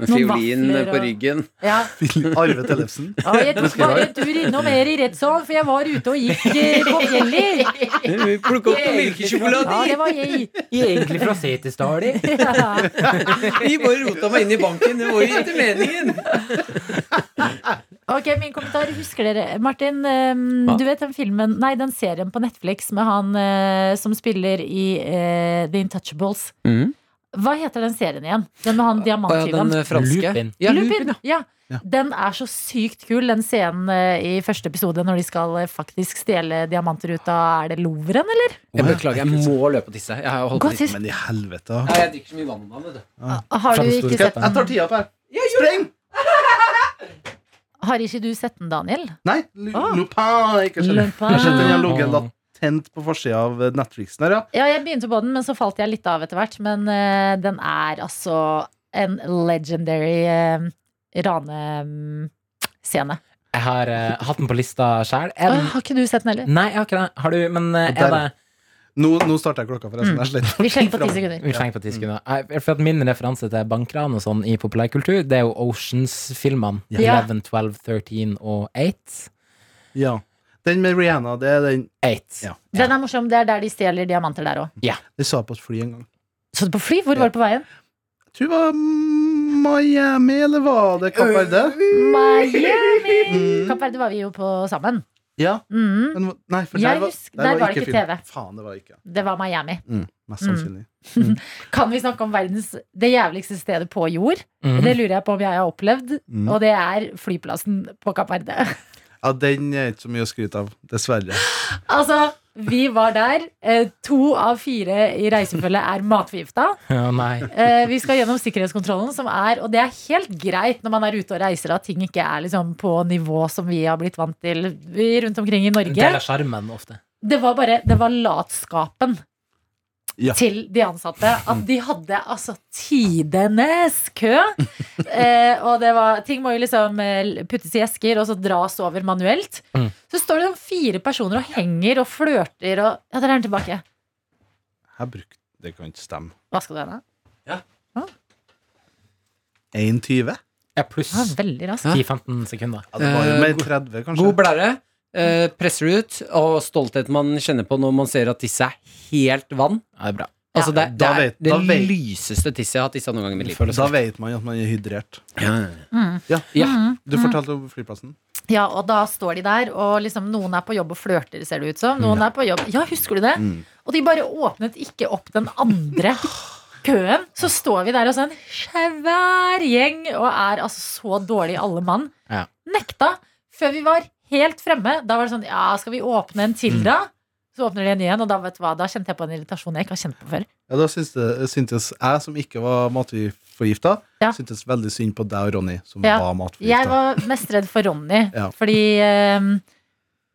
S3: Med
S2: Noen
S3: fiolin
S2: vafler
S3: på
S2: og-
S3: ryggen. <laughs>
S2: Ja. <laughs>
S5: Arve Tellefsen.
S2: Og jeg
S5: <laughs>
S2: tok bare en tur innom her i rettssalen, for jeg var ute og gikk eh, på fjellet. <laughs>
S3: Plukk opp noen melkesjokolade!
S2: Ja, det var <laughs> jeg.
S4: Egentlig fra Setesdal.
S2: Ja.
S3: Vi bare rota meg inn i banken. Det var jo ikke meningen.
S2: Ok, min kommentar. Husker dere, Martin, eh, du vet den filmen Nei, den serien på Netflix med han eh, som spiller i eh, The Intouchables.
S3: Mhm.
S2: Hva heter den serien igjen? Den med han diamanttyven?
S3: eh,
S4: Lupin.
S3: Ja,
S2: Lupin,
S3: Lupin, ja.
S2: ja.
S5: Ja.
S2: Den er så sykt kul, den scenen eh, i første episode når de skal eh, faktisk stjele diamanter ut av Er det Louvren, eller?
S3: Jeg beklager, jeg må løpe og tisse. Jeg har holdt på
S2: Gå
S3: å tisse.
S2: til
S5: Men i helvete.
S3: Nei, jeg drikker så mye vann om dagen, vet du.
S2: Har du ikke
S4: Fremstår-
S2: sett
S5: Jeg, jeg
S2: den?
S5: tar tida på her. Spreng!
S2: Har ikke du sett den, Daniel?
S5: Nei, Lu-
S2: Ah.
S5: Lupin har jeg ikke skjønt.
S2: Lupin.
S5: Jeg har skjønt den har ligget latent på forsida av Netflixen her, ja.
S2: Ja, jeg begynte på den, men så falt jeg litt av etter hvert. Men eh, den er altså en legendary uh, ranescene.
S4: Jeg har eh, hatt den på lista sjæl.
S2: Å, Har ikke du sett den Mm. heller?
S4: Nei, jeg har ikke det. Har du, men eh, er det
S5: Der. Nå, nå starter jeg klokka, forresten.
S2: Mm.
S5: Jeg sletter.
S2: Vi slenger på ti sekunder.
S4: Vi trenger på ti sekunder. Jeg- For at min referanse til bankran og sånn i populærkultur, det er jo Oceans-filmene.
S2: Ja.
S4: 11, 12, 13 og 8.
S5: Ja. Den med Rihanna, det er den
S4: 8.
S5: Ja.
S2: Den er morsom. Det er der de stjeler diamanter der òg.
S5: Det sa jeg på et fly en gang.
S2: Så du på fly? Hvor var du på veien?
S5: Jeg tror det var mm, Miami, eller var det Kapp Verde?
S2: Miami! Kapp Verde var vi jo på sammen.
S5: Ja.
S2: Mm.
S5: Men, nei, for
S2: Jeg
S5: der var,
S2: husker- der var det ikke
S5: film.
S2: TV.
S5: Faen, det var ikke.
S2: Det var Miami.
S5: Mm. Mest sannsynlig.
S2: Kan vi snakke om verdens det jævligste stedet på jord?
S4: Mhm.
S2: Det lurer jeg på om jeg har opplevd.
S5: Mm.
S2: Og det er flyplassen på Kapp Verde.
S5: Ja, den er ikke så mye å skryte av, dessverre.
S2: Altså, vi var der. Eh, To av fire i reisefølget er matforgifta.
S4: Ja, nei.
S2: Eh, Vi skal gjennom sikkerhetskontrollen, som er Og det er helt greit når man er ute og reiser, at ting ikke er liksom på nivå som vi har blitt vant til vi rundt omkring i
S4: En del av
S2: Norge.
S4: skjermen ofte.
S2: Det var bare Det var latskapen
S5: Ja.
S2: til de ansatte. At de hadde altså tidenes kø. Eh, og det var Ting må jo liksom eh, puttes i esker og så dras over manuelt.
S4: Mm.
S2: Så står det sånn fire personer og henger og flørter og Ja, der er den tilbake.
S5: Jeg brukte Det kan ikke stemme.
S2: Vaska du henne?
S5: 21?
S4: Ja,
S2: Ja,
S4: pluss
S2: veldig rask.
S4: 10-15 sekunder.
S5: Ja, det var jo
S3: Eh,
S5: mer
S3: god-
S5: 30, kanskje.
S3: God blære. eh, presser det ut, og stolthet man kjenner på når man ser at tisset er helt vann.
S4: Ja, det er bra.
S3: Altså, det, det
S5: Da
S3: er
S5: vet- da
S3: det
S5: vet-
S3: lyseste tisset jeg har tissa noen gang i mitt liv.
S5: da vet man at man er hydrert.
S2: Mm.
S5: Ja.
S2: Mm.
S5: Du fortalte om flyplassen.
S2: Ja, og da står de der, og liksom noen er på jobb og flørter, ser det ut som. Noen er på jobb Ja, husker du det? Og de bare åpnet ikke opp den andre køen. Så står vi der og så en svær gjeng og er altså så dårlig alle mann.
S4: Ja.
S2: Nekta. Før vi var helt fremme, da var det sånn Ja, skal vi åpne en til, da? Så åpner de en ny en, og da vet du hva, da kjente jeg på en irritasjon jeg ikke har kjent på før.
S5: Ja, da syntes, det, syntes jeg, som ikke var matforgifta,
S2: Ja.
S5: syntes veldig synd på deg og Ronny, som
S2: Ja.
S5: var
S2: Jeg
S5: matforgifta.
S2: var mest redd for Ronny,
S5: Ja.
S2: fordi eh,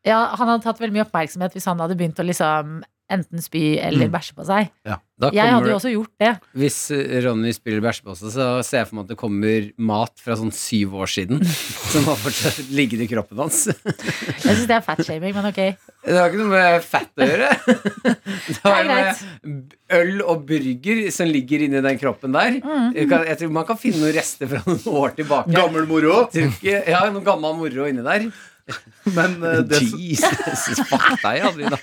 S2: ja, han hadde tatt veldig mye oppmerksomhet hvis han hadde begynt å liksom enten spy eller
S5: Mm.
S2: bæsje på seg.
S3: Da
S2: Jeg
S3: kommer
S2: hadde
S3: det-
S2: jo også gjort det.
S3: Hvis eh, Ronny spiller bæsjepose, så ser jeg for meg at det kommer mat fra sånn syv år siden <laughs> som har fortsatt ligget i kroppen hans. Det
S2: Jeg syns det er fatshaming, men ok.
S3: har ikke noe med fett å
S2: <laughs>
S3: gjøre. Det har
S2: Det er
S3: med øl og burger som ligger inni den kroppen der.
S2: Mm.
S3: Jeg kan- Jeg tror man kan finne noen rester fra noen år tilbake.
S5: Gammel moro!
S3: Jeg tror ikke- Ja, noen gammel moro inni der.
S5: Men
S3: <laughs>
S5: eh, det,
S3: Jesus, fuck deg, Adelina.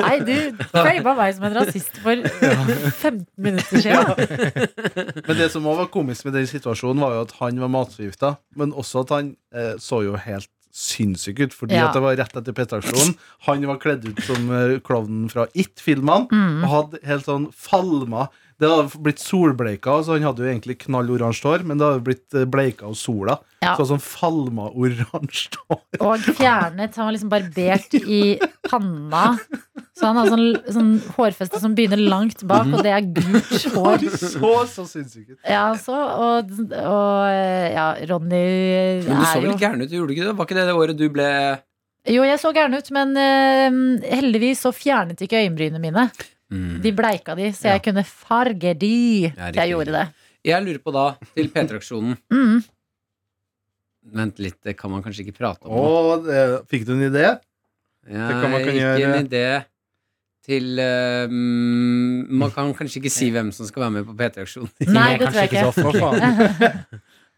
S2: Nei, du claima meg som en rasist for 15 minutter siden.
S5: men det som også var komisk med den situasjonen, var jo at han var matforgifta, men også at han eh, så jo helt sinnssyk ut, fordi
S2: Ja.
S5: at det var rett etter P-aksjonen. Han var kledd ut som eh, klovnen fra It-filmene
S2: Mm.
S5: og hadde helt sånn falma Det hadde blitt solbleika, så han hadde jo egentlig knalloransje hår, men det hadde blitt eh, bleika av sola.
S2: Ja.
S5: Så sånn falma oransje hår.
S2: Og fjernet. Han var liksom barbert i panna. Så han har sånn, sånn hårfeste som begynner langt bak, og det er gult hår.
S5: Så så sinnssykt ut.
S2: Ja, så, og, og ja, Ronny
S3: Men du så
S2: er
S3: vel
S2: jo
S3: gæren ut, gjorde du ikke det? Var ikke det det året du ble
S2: Jo, jeg så gæren ut, men eh, heldigvis så fjernet ikke øyenbrynene mine.
S3: Mm.
S2: De bleika de, så jeg kunne farge de.
S3: Ja,
S2: så
S3: riktig.
S2: jeg gjorde det.
S3: Jeg lurer på da, til P3-aksjonen
S2: Mm.
S3: Vent litt, det kan man kanskje ikke prate om. nå.
S5: Og eh, fikk du en idé?
S3: Jeg
S5: Det kan man
S3: gikk
S5: kunne gjøre.
S3: en idé til eh, mm, Man kan kanskje ikke si hvem som skal være med på P3-aksjonen. <laughs>
S2: Nei, det
S4: Kanskje
S2: tror jeg ikke.
S4: så
S2: <laughs>
S4: offentlig.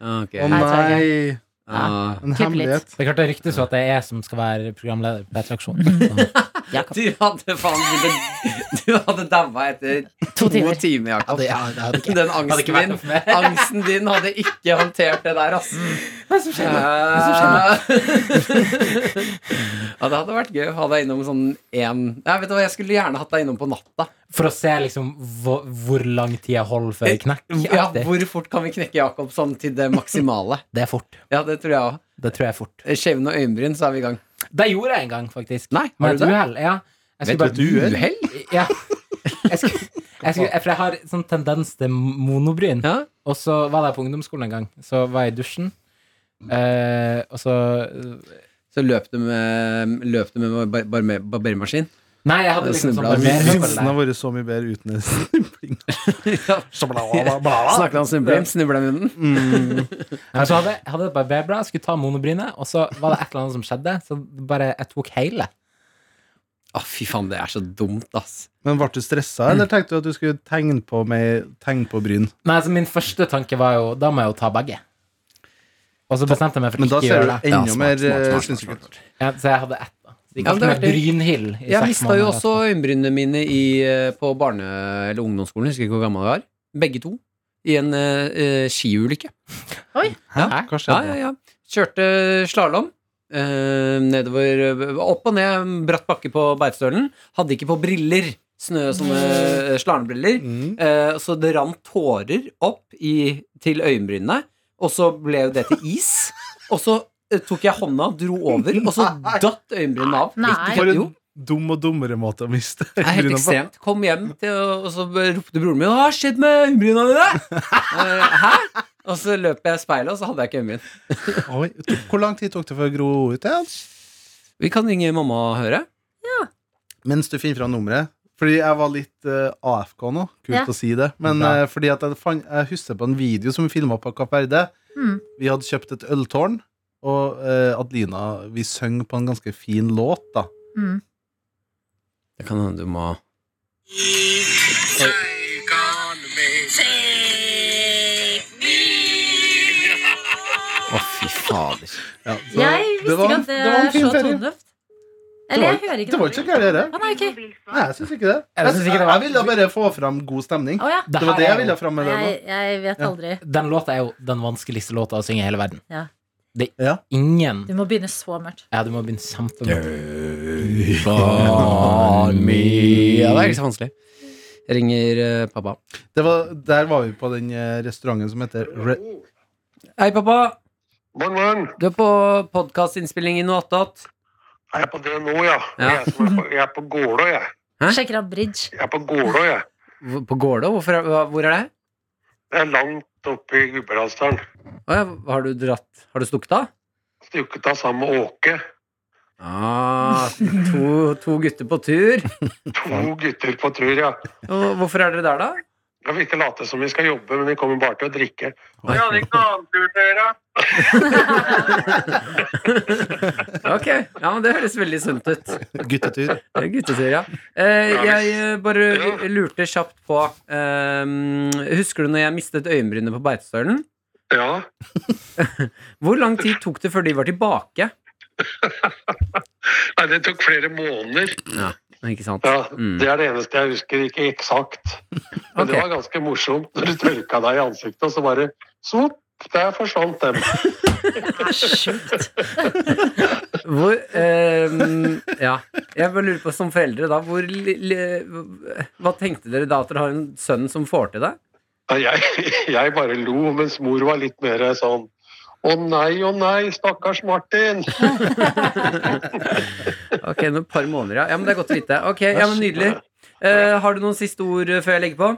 S3: Ah, ok.
S5: Å
S2: Nei, tror
S5: nei,
S3: Ah.
S5: en
S2: Klipp litt.
S5: hemmelighet.
S4: Det er klart det ryktes jo at det er jeg som skal være programleder på
S2: <laughs>
S4: P3-aksjonen.
S2: Jakob.
S3: Du hadde faen Du, du hadde daua etter
S2: To timer.
S4: Ja,
S3: Jakob.
S4: det, ja, det hadde ikke,
S3: Den
S4: hadde
S3: angsten
S4: ikke vært
S3: din,
S4: noe for meg.
S3: angsten din hadde ikke håndtert det der, ass.
S4: Mm.
S3: Hva som skjer <laughs> ja, det hadde vært gøy å ha deg innom sånn én Nei, vet du hva, jeg skulle gjerne hatt deg innom på natta.
S4: For å se liksom hvor, hvor lang tid jeg holder før jeg knekker.
S3: Eh, Ja, hvor fort kan vi knekke Jakob sånn til det maksimale?
S4: Det er fort.
S3: Ja, det tror jeg òg.
S4: Det tror jeg er fort.
S3: Skjevne og øyenbryn, så er vi i gang.
S4: Det gjorde jeg en gang, faktisk.
S3: Nei, har
S4: Med
S3: du
S4: et
S3: det?
S4: uhell. Ja. Jeg skulle
S5: Vet du
S4: bare-
S5: et
S4: Ja. Jeg skulle, jeg skulle, for jeg har sånn tendens til monobryn.
S3: Ja?
S4: Og så var jeg på ungdomsskolen en gang. Så var jeg i dusjen. Eh, og så
S3: Så løp du med, løp du med bar- barme- barbermaskin.
S4: Nei, jeg hadde liksom sånn
S3: Snubla.
S4: barberhøvel
S5: Vitsen
S4: der.
S5: har vært så mye bedre uten en snubling.
S3: Snakket han snublim, snubla i munnen.
S4: Men så hadde jeg- hadde jeg barberblad, skulle ta monobrynet, og så var det et eller annet som skjedde. Så bare jeg tok hele.
S3: Å, Ah, fy faen, det er så dumt, ass.
S5: Men ble du stressa, eller tenkte du at du skulle tegne på, med, tegne på bryn?
S4: Nei, altså Min første tanke var jo da må jeg jo ta begge. Og så bestemte jeg meg for
S5: Men da
S4: ikke å
S5: ser
S4: gjøre
S5: du
S4: det.
S5: enda mer eh, sinnssyk ut.
S4: Ja, så jeg hadde ett. da Så jeg
S3: Ja,
S4: gikk
S3: men det
S4: med
S3: er artig.
S4: Brynhild i
S3: Jeg
S4: seks
S3: mista jo
S4: måneder altså.
S3: også øyenbrynene mine i, eh, på barne- eller ungdomsskolen. Husker ikke hvor gammel jeg var. Begge to. I en eh, eh, skiulykke.
S4: Hæ?
S5: Hæ? Hva
S3: Ah, Ja,
S5: skjedde?
S3: ja, ja. Kjørte slalåm. eh, nedover eh, Opp og ned, bratt bakke på Beitostølen. Hadde ikke på briller. Snø sånne eh, slangebriller.
S6: Mm.
S3: Eh, så det rant tårer opp i, til øyenbrynene, og så ble jo det til is. Og så eh, tok jeg hånda, dro over, og så datt øyenbrynene av.
S2: Nei.
S5: For
S3: Jo.
S5: en dum og dummere måte å miste
S3: Det er helt
S5: øyenbrynene på.
S3: ekstremt. Kom hjem, til, og så ropte broren min 'Hva har skjedd med øyenbryna dine?' Eh, Hæ? Og så løp jeg i speilet, og så hadde jeg ikke øyenbryn.
S5: Oi, tok- Hvor lang tid tok det for å gro ut det?
S3: Vi kan ringe mamma og høre.
S5: Mens du finner fra nummeret Fordi jeg var litt eh, AFK nå Kult
S2: Ja.
S5: å si det Men
S4: Ja.
S5: eh, fordi at jeg, fant- jeg husker på en video som vi filmet på Kapp Verde
S2: Mm.
S5: Vi hadde kjøpt et øltårn Og eh, Adelina, vi søng på en ganske fin låt da
S2: Mm.
S3: Det kan hende du må Å, fy fader.
S5: ja, så
S2: Jeg visste
S5: var
S2: ikke
S5: en-
S2: at det,
S5: var en
S2: er
S5: fin
S2: så
S5: ferie.
S2: tonedøvt. Eller jeg hører
S5: Det var-
S2: ikke
S5: Det var ikke så gærlig det
S2: Å, nei, ok.
S5: Nei, jeg synes ikke det
S4: Jeg
S5: Jeg,
S4: synes ikke
S5: jeg,
S4: det var-
S5: ville bare få fram god stemning
S2: Å, ja.
S5: Det var det jeg ville fram med det
S2: jeg, jeg vet aldri.
S4: Den låta er jo den vanskeligste låta å synge i hele verden.
S2: Ja.
S4: Det er
S5: Ja.
S4: ingen
S2: Du må begynne så mørkt.
S4: Ja, du må begynne kjempemye.
S3: Ja, det er
S4: liksom-
S3: ikke så vanskelig. Jeg ringer eh, pappa.
S5: det var, Der var vi på den eh, restauranten som heter Re
S3: Hei, pappa.
S7: Morn, morn.
S3: Du er på podkastinnspilling i noe attåt.
S7: Jeg er på det nå, ja.
S3: Ja.
S7: Jeg, er som er på, jeg er på Gålå, jeg.
S3: Hæ?
S2: Sjekker av bridge.
S5: <laughs>
S7: Jeg er på Gålå, jeg.
S3: Hvor- På Gålå? Hvorfor er- hva- Hvor er det?
S7: Det er langt oppe i Gudbrandsdalen.
S3: Å ja, har du dratt Har du stukket av?
S7: Stukket av sammen med Åke.
S3: Ah, to, to gutter på tur.
S7: To gutter på tur, ja.
S3: Og Hvorfor er dere der, da?
S7: Jeg vil ikke late som vi skal jobbe, men vi kommer bare til å drikke. Vi hadde ikke noe annet tur til å gjøre. <laughs>
S3: Ok, ja, men Det høres veldig sunt ut.
S5: Guttetur
S3: Det er Guttetur, ja. Eh, jeg eh, bare
S7: Ja.
S3: lurte kjapt på eh, Husker du når jeg mistet øyenbrynet på Beitostølen?
S7: Ja,
S3: Hvor lang tid tok det før de var tilbake?
S7: Nei, det tok flere måneder.
S3: Ikke sant?
S7: Ja,
S3: Mm.
S7: Det er det eneste jeg husker, ikke eksakt.
S3: Ok.
S7: Men det var ganske morsomt når du tørka deg i ansiktet, og så bare sopp, der forsvant dem.
S2: Det er sjukt.
S3: Hvor ehm, Ja. Jeg bare lurer på, som foreldre, da hvor, li- li- Hva tenkte dere da at dere har en sønn som får til det?
S7: Nei, Jeg, <laughs> jeg bare lo, mens mor var litt mer sånn Å nei, å nei, stakkars Martin!
S3: Ok, nå et par måneder, ja. ja. Men det er godt å vite. Ok, ja, men Nydelig. Eh, har du noen siste ord eh, før jeg legger på?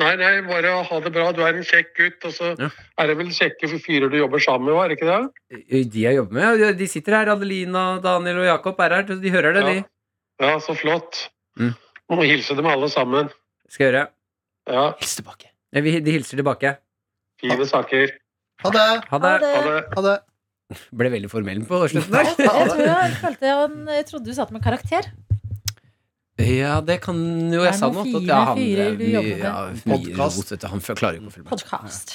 S7: Nei, nei, bare ha det bra, du er en kjekk gutt. Og så
S3: Ja.
S7: er det vel kjekke fyrer du jobber sammen med, er det ikke det?
S3: Eh, De jeg jobber med, ja, de sitter her. Adelina, Daniel og Jakob er her. så De hører det,
S7: Ja.
S3: de.
S7: Ja, så flott.
S3: Mm.
S7: Må hilse dem alle sammen.
S3: Skal gjøre.
S7: Ja,
S4: Hils tilbake.
S3: Eh, vi- De hilser tilbake.
S7: fine saker.
S5: Ha det,
S3: Ha det.
S7: Ha det.
S5: ha det
S3: Ble veldig formell på slutten der.
S2: Jeg, tror jeg, følte han, jeg trodde du satt med karakter.
S3: <laughs> Ja, det kan
S2: Det
S3: jo
S2: er
S3: Jeg sa
S2: noen
S3: noe annet. at
S2: fine
S3: Ja, han
S2: fyrer
S3: drev
S2: du
S3: mye,
S2: jobber med.
S3: ja, mye
S5: Podcast.
S3: rot, vet du. Han f- klarer jo ikke å følge med.
S2: Podcast.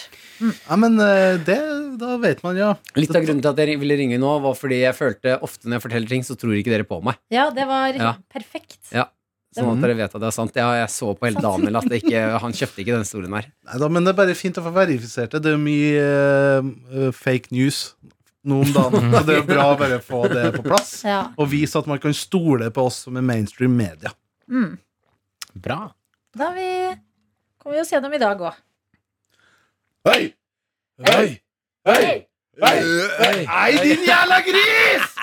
S5: Ja, men eh, det, da vet man ja
S3: Litt av grunnen til at jeg ville ringe nå, var fordi jeg følte ofte når jeg forteller ting, så tror ikke dere på meg.
S2: Ja, det var
S3: Ja.
S2: perfekt.
S3: Ja. Sånn
S2: Mm.
S3: at dere vet at det er sant. Ja, jeg så på hele
S2: Sånn.
S3: Daniel at det ikke, han kjøpte ikke den stolen her.
S5: Nei da, men det er bare fint å få verifisert det. Det er jo mye eh, eh, fake news nå om dagen, så det er bra å bare få det på plass.
S2: Ja.
S5: Og vise at man kan stole på oss som er mainstream media.
S2: Mm.
S4: Bra.
S2: Da har vi, kommer vi oss gjennom i dag òg.
S5: Hei! Hei! Hei! Hei! Eh, Hei, din jævla gris!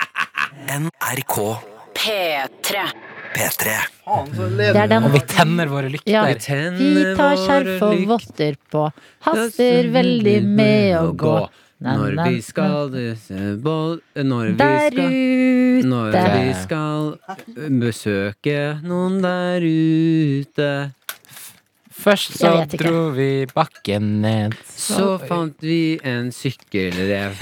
S5: Faen, så leder
S2: Det er den.
S4: Og vi tenner våre lykter.
S2: Ja. Vi
S3: tenner
S2: tar skjerf og
S3: våre lykt-
S2: votter på, haster veldig med å gå. Na,
S3: Når
S2: na,
S3: vi skal disse boll- Når vi
S2: Der
S3: skal Når
S2: ute.
S3: vi skal eh, besøke noen der ute,
S4: Først så
S2: Jeg vet ikke.
S4: dro vi bakken ned.
S3: så fant vi en sykkelrev.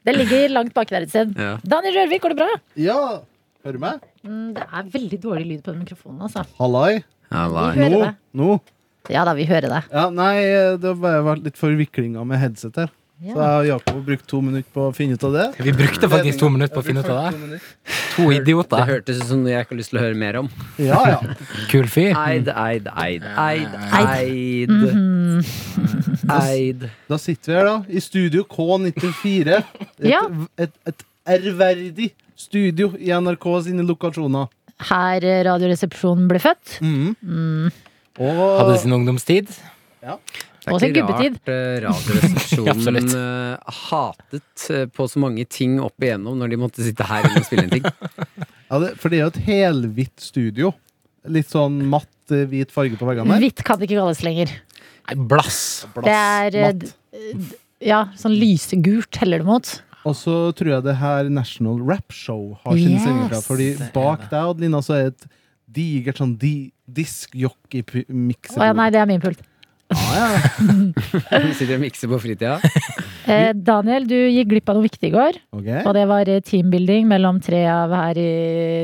S2: <laughs> Det ligger langt baki der et sted.
S3: Ja.
S2: Daniel Rørvik, går det bra?
S5: Ja, hører du meg?
S2: Mm, Det er veldig dårlig lyd på den mikrofonen, altså.
S5: Hallai.
S3: Halla.
S2: Hører
S5: Nå?
S2: deg.
S5: Nå?
S2: Ja da, vi hører deg.
S5: Ja, nei, eh, det har bare vært litt forviklinger med headset her.
S2: Ja.
S5: Så jeg og Jakob har brukt to minutter på å finne ut av det.
S4: Vi brukte faktisk to minutter på å finne ut av det. To
S3: Det
S4: idioter.
S3: hørtes ut som noe jeg ikke har lyst til å høre mer om.
S2: <laughs>
S5: Ja, ja.
S4: Kul fyr.
S3: Eid, eid, eid, eid, eid.
S2: Mhm.
S3: Eid.
S5: Da sitter vi her, da. I studio K94. Et,
S2: Ja.
S5: et, et ærverdig studio i NRK sine lokasjoner.
S2: her eh, Radioresepsjonen ble født.
S5: Mm.
S2: Mm.
S4: Hadde
S5: Og
S4: sin ungdomstid.
S3: Det er
S2: Og sin
S3: ikke
S2: gubbetid.
S3: rart eh, Radioresepsjonen
S4: Absolutt.
S3: eh, hatet eh, på så mange ting opp igjennom når de måtte sitte her og spille en ting.
S5: ja, det, for det er jo et helhvitt studio. Litt sånn matt, eh, hvit farge på veggene der.
S2: Hvitt kan det ikke kalles lenger.
S4: Nei, blass.
S2: Det er eh, d- d- ja, sånn lysegult heller det mot.
S5: Og så tror jeg det her National Rap Show har sine
S2: Yes.
S5: sendinger fra. Fordi bak deg, Adelina, så er et digert sånn di
S2: Å ja,
S5: diskjockey-miksebord.
S2: nei, det er min pult.
S3: Sitter og mikser på fritida.
S2: Eh, Daniel, du gikk glipp av noe viktig i går. <laughs> Og det var eh, teambuilding mellom tre av, her i,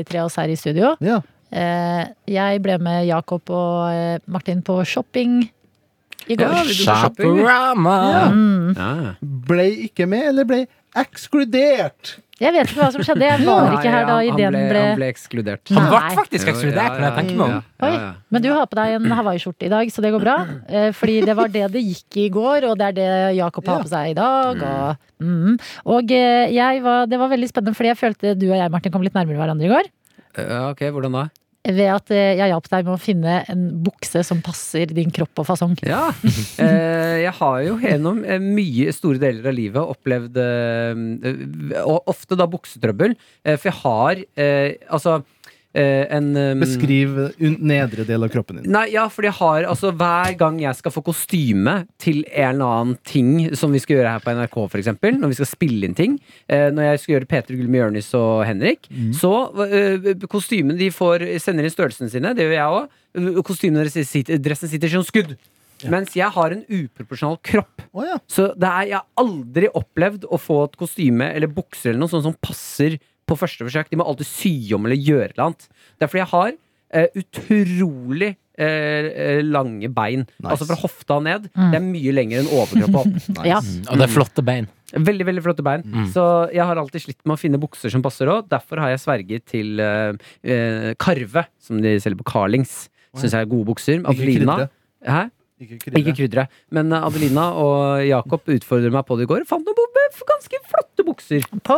S2: tre av oss her i studio.
S5: Ja.
S2: Eh, jeg ble med Jakob og eh, Martin på shopping i går.
S3: Ja, vi dro på shopping.
S4: Shaporama.
S3: Ja.
S5: Ble ikke med, eller ble ekskludert?
S2: Jeg vet ikke hva som skjedde. Jeg var ikke her da
S3: Nei, han-
S2: ideen
S3: han
S2: ble,
S3: Han ble ekskludert.
S2: Nei.
S4: Han ble faktisk
S3: Jo, ja,
S4: ekskludert, når jeg
S3: ja,
S4: tenker meg om.
S3: ja, ja, ja.
S2: Men du har på deg en hawaiiskjorte i dag, så det går bra. Eh, Fordi det var det det gikk i går, og det er det Jakob har på seg i dag. Og, mm. og eh, jeg var, det var veldig spennende, fordi jeg følte du og jeg, Martin, kom litt nærmere hverandre i går.
S3: Ja, ok, hvordan da?
S2: Ved at eh, jeg hjalp deg med å finne en bukse som passer din kropp og fasong.
S3: Ja, eh, jeg har jo gjennom eh, mye store deler av livet opplevd eh, og ofte da buksetrøbbel, eh, for jeg har eh, altså eh, en eh,
S5: Beskriv un- nedre del av kroppen din.
S3: Nei, ja, fordi jeg har altså Hver gang jeg skal få kostyme til en eller annen ting som vi skal gjøre her på NRK, for eksempel, når vi skal spille inn ting eh, Når jeg skal gjøre Peter Gullmy Jørnis og Henrik, så eh, kostymen de får sender inn størrelsene sine, det gjør jeg òg. Kostymen deres sitter, dressen sitter som skudd. Mens jeg har en uproporsjonal kropp.
S5: Å ja.
S3: Så det er, jeg har aldri opplevd å få et kostyme eller bukser eller noe sånt som passer på første forsøk. De må alltid sy om eller gjøre noe annet. Det er fordi jeg har eh, utrolig eh, eh, lange bein.
S5: Nice.
S3: Altså fra hofta og ned.
S2: Mm.
S3: Det er mye lenger enn overkropp og
S2: <laughs>
S3: opp.
S2: Ja.
S4: Og det er flotte bein.
S3: Veldig, veldig flotte bein.
S4: Mm.
S3: Så jeg har alltid slitt med å finne bukser som passer òg. Derfor har jeg sverget til eh, eh, Karve, som de selger på Carlings. Syns jeg er gode bukser. Adelina.
S5: krydre.
S3: Hæ?
S5: Ikke
S3: Ikke
S5: krydre.
S3: krydderet. Men eh, Adelina og Jakob utfordret meg på det i går. Fant noen bu- ganske flotte bukser.
S2: På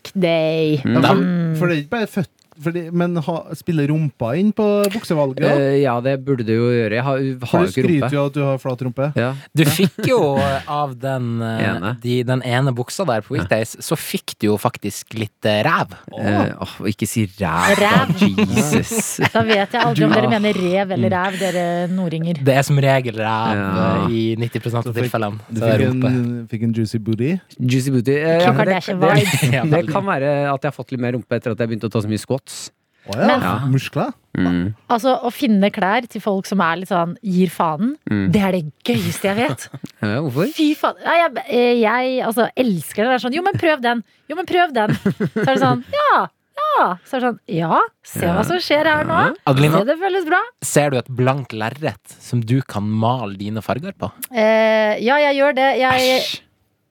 S2: weekday.
S5: Ja,
S3: Mm.
S5: for, for det er ikke bare født fordi, Men ha, spiller rumpa inn på buksevalget? da?
S3: Eh, ja, det burde det jo gjøre. Jeg har, har
S5: For
S3: jo
S5: du
S3: ikke
S5: skryter
S3: rumpe.
S5: jo av at du har flat rumpe.
S3: Ja.
S4: Du fikk jo eh, av den, eh,
S3: Ene.
S4: de, den ene buksa der på Weekdays, så fikk du jo faktisk litt eh, ræv.
S3: Eh, åh, ikke si ræv, da.
S2: Ræv.
S3: Jesus. <laughs>
S2: Da vet jeg aldri om
S3: Du- Ah. Mm.
S2: dere mener rev eller ræv, dere nordinger.
S4: Det er som regel ræv
S3: Ja.
S4: eh, i 90 av
S5: Så fikk-
S4: tilfellene.
S5: Du
S4: Så er
S5: fikk
S4: rumpe.
S5: en, fikk en juicy booty.
S3: Juicy booty. Eh,
S2: Kim
S3: men det, det,
S2: <laughs> Kardashian-vibe.
S4: Ja,
S3: det
S4: veldig.
S3: kan være at jeg har fått litt mer rumpe etter at jeg begynte å ta så mye squats.
S5: Å ja.
S3: Men-
S5: Muskler.
S2: Altså, å finne klær til folk som er litt sånn gir faen,
S3: Mm.
S2: det er det gøyeste jeg
S3: <laughs>
S2: vet.
S3: Ja, hvorfor?
S2: Fy faen. Nei, jeg, eh, jeg altså, elsker det. Det er sånn, jo, men prøv den. Jo, men prøv den. Så er det sånn, ja, ja. Så er det sånn, ja, se hva som skjer her nå. Se,
S4: Adelina,
S2: det føles bra.
S4: ser du et blankt lerret som du kan male dine farger på?
S2: Eh, ja, jeg gjør det. Jeg,
S4: Æsj!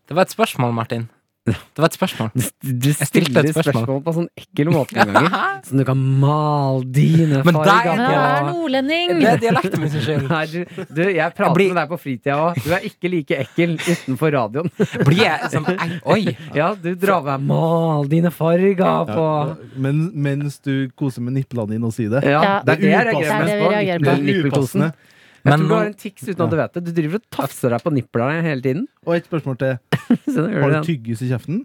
S4: Det var et spørsmål, Martin. Det var et spørsmål.
S3: <laughs> Du
S4: stilte
S3: stiller
S4: et spørsmål.
S3: spørsmål på en sånn ekkel måte noen ganger. Som du kan male dine
S2: men
S4: Men der-
S2: han er
S3: farger på.
S2: nordlending.
S4: Det er dialekten min sin skyld.
S3: <laughs> Nei, du, du, jeg prater
S4: blir-
S3: med deg på fritida òg. Du er ikke like ekkel utenfor radioen.
S4: Blir jeg sånn ei, Oi!
S3: Ja, du drar med mal dine farger på
S5: Men, mens du koser med nipplene dine og sier det.
S3: Ja,
S2: Ja.
S3: det er det jeg
S5: upassende.
S2: Det er det
S3: reagerer mest
S2: vi
S3: på.
S2: reagerer på.
S5: Det
S3: Nippel-
S5: er
S3: nippelposen.
S5: upassende.
S3: Jeg
S4: Men
S3: tror du har
S4: nå-
S3: en tics uten at du vet det. Du driver og tafser deg på nipplene hele tiden. <laughs>
S5: Og et spørsmål til.
S3: Så nå
S5: Har
S3: gjør
S5: du
S3: du det.
S5: tyggis i kjeften?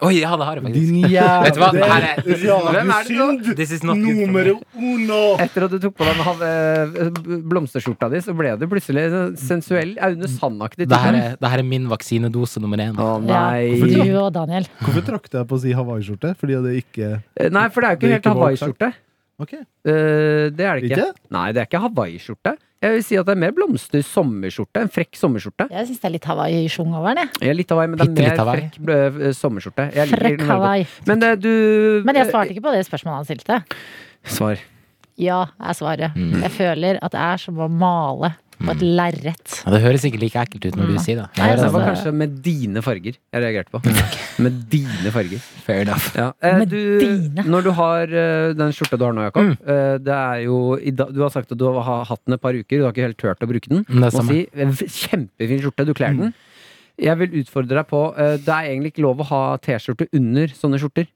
S4: Oi, ja, det har jeg faktisk.
S5: Din jævla
S4: Vet du hva? Her er-
S3: Hvem er det nå?
S4: This is not good for me.
S5: uno!
S3: Etter at du tok på den hav- eh, blomsterskjorta di, så ble du plutselig sånn sensuell Aune Sand-aktig.
S4: Det her er, det her er min vaksinedose nummer én.
S3: Å
S2: Ja,
S3: nei.
S2: du og Daniel.
S5: Hvorfor trakk jeg på å si hawaiiskjorte? Fordi det ikke
S3: Nei, for det er jo ikke
S5: Det er
S3: helt
S5: ikke vår sak.
S3: hawaiiskjorte.
S5: Ok,
S3: Eh, det er det ikke.
S5: ikke?
S3: Nei, det er ikke hawaiiskjorte. Jeg vil si at det er mer blomster sommerskjorte. En frekk sommerskjorte.
S2: Jeg synes det er litt Hawaii i sjung over den, jeg.
S3: Jeg er litt Hawaii, men det
S4: Bitte litt
S3: er mer
S4: Hawaii.
S3: frekk eh, sommerskjorte. Jeg liker
S2: Frekk
S3: den veldig godt.
S2: Hawaii.
S3: Men eh, du
S2: Men jeg svarte ikke på det spørsmålet han stilte.
S3: Svar.
S2: Ja, er svaret. Jeg føler at det er som å male på et lerret.
S4: Ja, Det høres ikke like ekkelt ut når du sier det.
S2: Nei,
S3: Det
S4: Jeg hører
S2: altså-
S3: var
S4: det.
S3: kanskje med dine farger jeg reagerte på. Med dine farger.
S4: Mm. Fair enough.
S3: Ja. eh,
S2: Med
S3: du,
S2: dine.
S3: Når du har eh, den skjorta du har nå,
S4: Mm.
S3: Jakob eh, Det er jo i dag- Du har sagt at du har hatt den et par uker. Du har ikke helt turt å bruke den.
S4: Men det
S3: Må
S4: er samme.
S3: si, eh, kjempefin skjorte. Du kler den. Jeg vil utfordre deg på eh, Det er egentlig ikke lov å ha T-skjorte under sånne skjorter.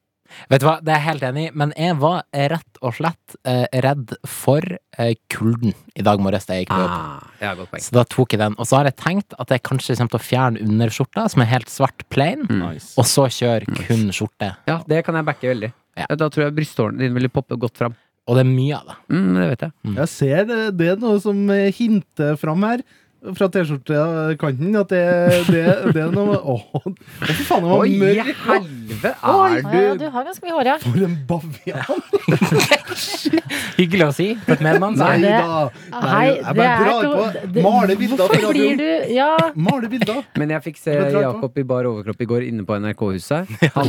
S4: Vet du hva, det er jeg helt enig i, men jeg var rett og slett eh, redd for eh, kulden i dag morges da jeg gikk på jobb.
S3: Ah, det er et godt poeng.
S4: Så da tok jeg den, og så har jeg tenkt at jeg kanskje kommer til å fjerne underskjorta, som er helt svart plain,
S5: Nice.
S4: og så kjøre kun skjorte.
S3: Ja, det kan jeg backe veldig.
S4: Ja.
S3: Da tror jeg brysthårene dine ville poppe godt fram.
S4: Og det er mye av det.
S3: Mm, det vet jeg.
S5: Jeg ser det, det er noe som hinter fram her. Fra T-skjortekanten. At det, det, det er noe Å, fy faen, det
S3: Oi,
S5: var
S3: i
S5: mørkt!
S3: helvete
S2: Å ja,
S3: er
S2: du
S3: du
S2: har ganske mye hår, ja.
S5: For en bavian!
S4: Hyggelig å si for et medmann.
S5: Nei
S4: så-
S2: det-
S5: da! Nei,
S2: Hei,
S5: jeg
S2: det
S5: bare
S2: er
S5: drar
S2: to-
S5: på.
S2: det-
S5: Maler bilder
S2: Hvorfor blir
S5: for radioen.
S2: du Ja,
S5: Maler bilder.
S3: Men jeg fikk se
S5: Men drar på.
S3: Jakob i bar overkropp i går inne på NRK-huset. Han-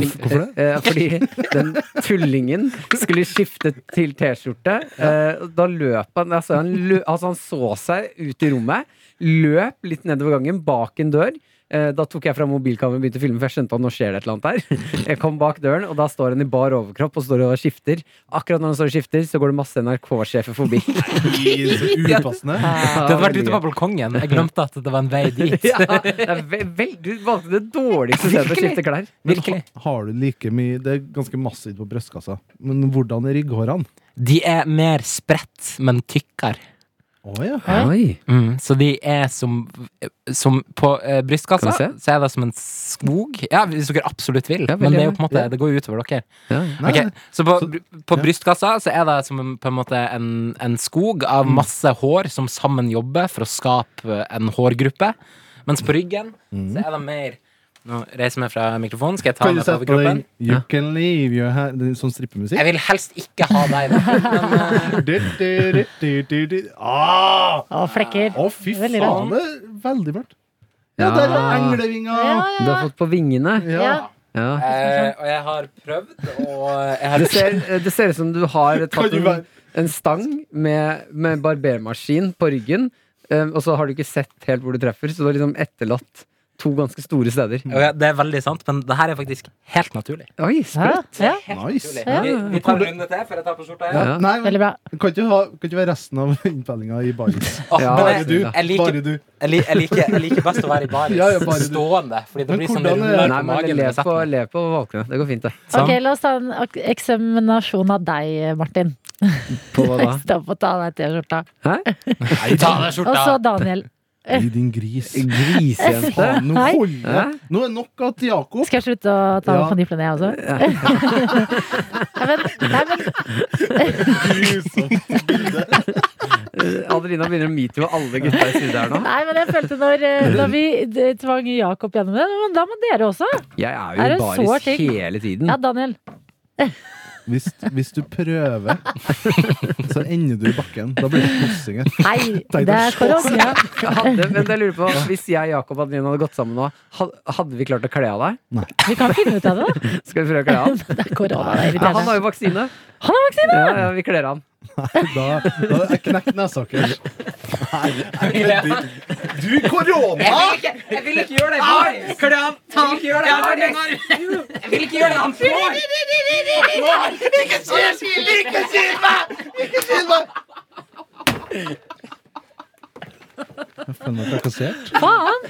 S3: <laughs>
S5: hvorfor
S3: eh, Fordi den tullingen skulle skifte til T-skjorte. Eh, og Da løp han altså, han lø, altså, han så seg ut i rommet, løp litt nedover gangen, bak en dør. Eh, Da tok jeg fra mobilkameraet og begynte å filme, for jeg skjønte at nå skjer det et eller annet her. <laughs> Jeg kom bak døren, og da står han i bar overkropp og står og skifter. Akkurat når han står og skifter, så går det masse NRK-sjefer forbi.
S5: Gris, upassende.
S4: Det hadde vært ute på balkongen. Jeg glemte at det var en
S5: <laughs>
S4: vei dit.
S3: Ja, <laughs> det er ve vel, du valgte det dårligste stedet å skifte klær.
S5: Men
S4: Virkelig.
S5: ha- Har du like mye Det er ganske massivt på brystkassa. Men hvordan er rygghårene?
S4: De er mer spredt, men tykkere.
S5: Å ja.
S3: Oi.
S4: Mm, så de er som, som På eh, brystkassa
S3: Skal vi
S4: så er det som en skog. Ja, hvis dere absolutt vil.
S3: Ja, veldig
S4: men det er jo
S3: gjerne.
S4: på en måte
S5: Ja.
S4: Det går jo utover dere.
S3: Ja.
S5: Nei,
S4: Ok, Så på,
S5: Så-
S4: på
S5: ja.
S4: brystkassa så er det som en, på en måte en, en skog av
S5: Mm.
S4: masse hår som sammen jobber for å skape en hårgruppe. Mens på ryggen så er det mer Nå reiser jeg meg fra mikrofonen. Skal jeg ta meg
S5: Mm. Kan du
S4: på
S5: sette på
S4: overkroppen?
S5: den You can leave your hand den Sånn strippemusikk?
S4: Jeg vil helst ikke ha
S2: <laughs>
S4: deg der. Men, eh,
S5: Du, du, du, du, du, du. Ah! Å,
S2: og flekker.
S5: fy
S2: Veldig rart.
S5: faen, det er veldig mørkt. Ja, der er englevinga!
S2: Ja,
S3: Du
S2: ja,
S3: har fått på vingene.
S5: Ja.
S2: ja.
S3: Ja.
S4: eh, og jeg har prøvd, og jeg har
S3: Det ser, det ser ut som du har
S5: Kan
S3: tatt
S5: du
S3: en,
S5: være-
S3: en stang med, med barbermaskin på ryggen, eh, og så har du ikke sett helt hvor du treffer, så du har liksom etterlatt to ganske store steder.
S4: Ok, Det er veldig sant, men det her er faktisk helt naturlig.
S3: Oi,
S2: ja,
S3: sprøtt!
S2: ja.
S5: Nice.
S4: Naturlig. Vi, vi tar en runde til før jeg tar på skjorta.
S5: Ja.
S4: igjen.
S3: Ja.
S5: Nei, men
S2: Veldig bra.
S5: kan ikke, du ha, kan ikke være resten av <laughs> innspillinga i baris?
S4: Åh,
S3: Ja,
S4: men
S5: Bare
S4: jeg,
S5: du.
S4: jeg, liker,
S5: Bare du.
S4: jeg, liker, jeg, liker, jeg liker best å være i baris
S5: Ja, ja, bare du.
S4: stående, fordi det
S5: Men
S4: blir sånn
S5: hvordan er-
S4: ruller
S3: Nei,
S4: på
S3: men
S4: magen.
S3: le
S4: når du setter
S3: på,
S4: den.
S3: le på valkene. Det går fint, det.
S4: Sant?
S2: Ok, la oss ta en ok- eksaminasjon av deg, Martin.
S3: På hva da?
S2: Stopp å ta av deg T-skjorta.
S4: Ta av deg
S2: Og så
S4: skjorta!
S2: Daniel.
S5: I din gris.
S3: Grisejente.
S5: Faen, nå
S2: Hei.
S5: holder det! Nå er det nok av til Jakob.
S2: Skal jeg slutte å ta
S5: Ja.
S2: på niflene, jeg også? <laughs> Nei, men, nei, men,
S5: Grusomt.
S3: <laughs> Adelina begynner å metoo alle gutta i studio her nå.
S2: nei, men jeg følte når, eh, når vi d- tvang Jakob gjennom det, men da må dere også.
S3: Jeg er
S2: Er
S3: jo
S2: det
S3: i
S2: så
S3: baris
S2: ting?
S3: hele tiden.
S2: Ja, Daniel.
S5: Hvis, hvis du prøver, så ender du i bakken. Da blir det kossing.
S2: Hei,
S3: <laughs>
S2: det er korona.
S3: Hadde, men jeg lurer på, Hvis jeg, Jakob og Adelina hadde gått sammen nå, had- hadde vi klart å kle av deg?
S2: Vi kan finne ut av det,
S3: <laughs>
S2: da.
S3: Skal vi prøve å kle av
S2: <laughs>
S3: han?
S2: Det er korona, det er
S3: Ja, han har
S2: irriterende.
S3: jo vaksine.
S2: Han har vaksine!
S3: Ja, ja, vi kler han.
S5: Da, da jeg knekker nesaker. Nei, jeg kødder. Du, korona!
S4: Jeg vil ikke gjøre det i baris! Kle av! Ta av! Jeg vil ikke gjøre det! Han får!
S5: Jeg føler meg trakassert.
S2: Faen!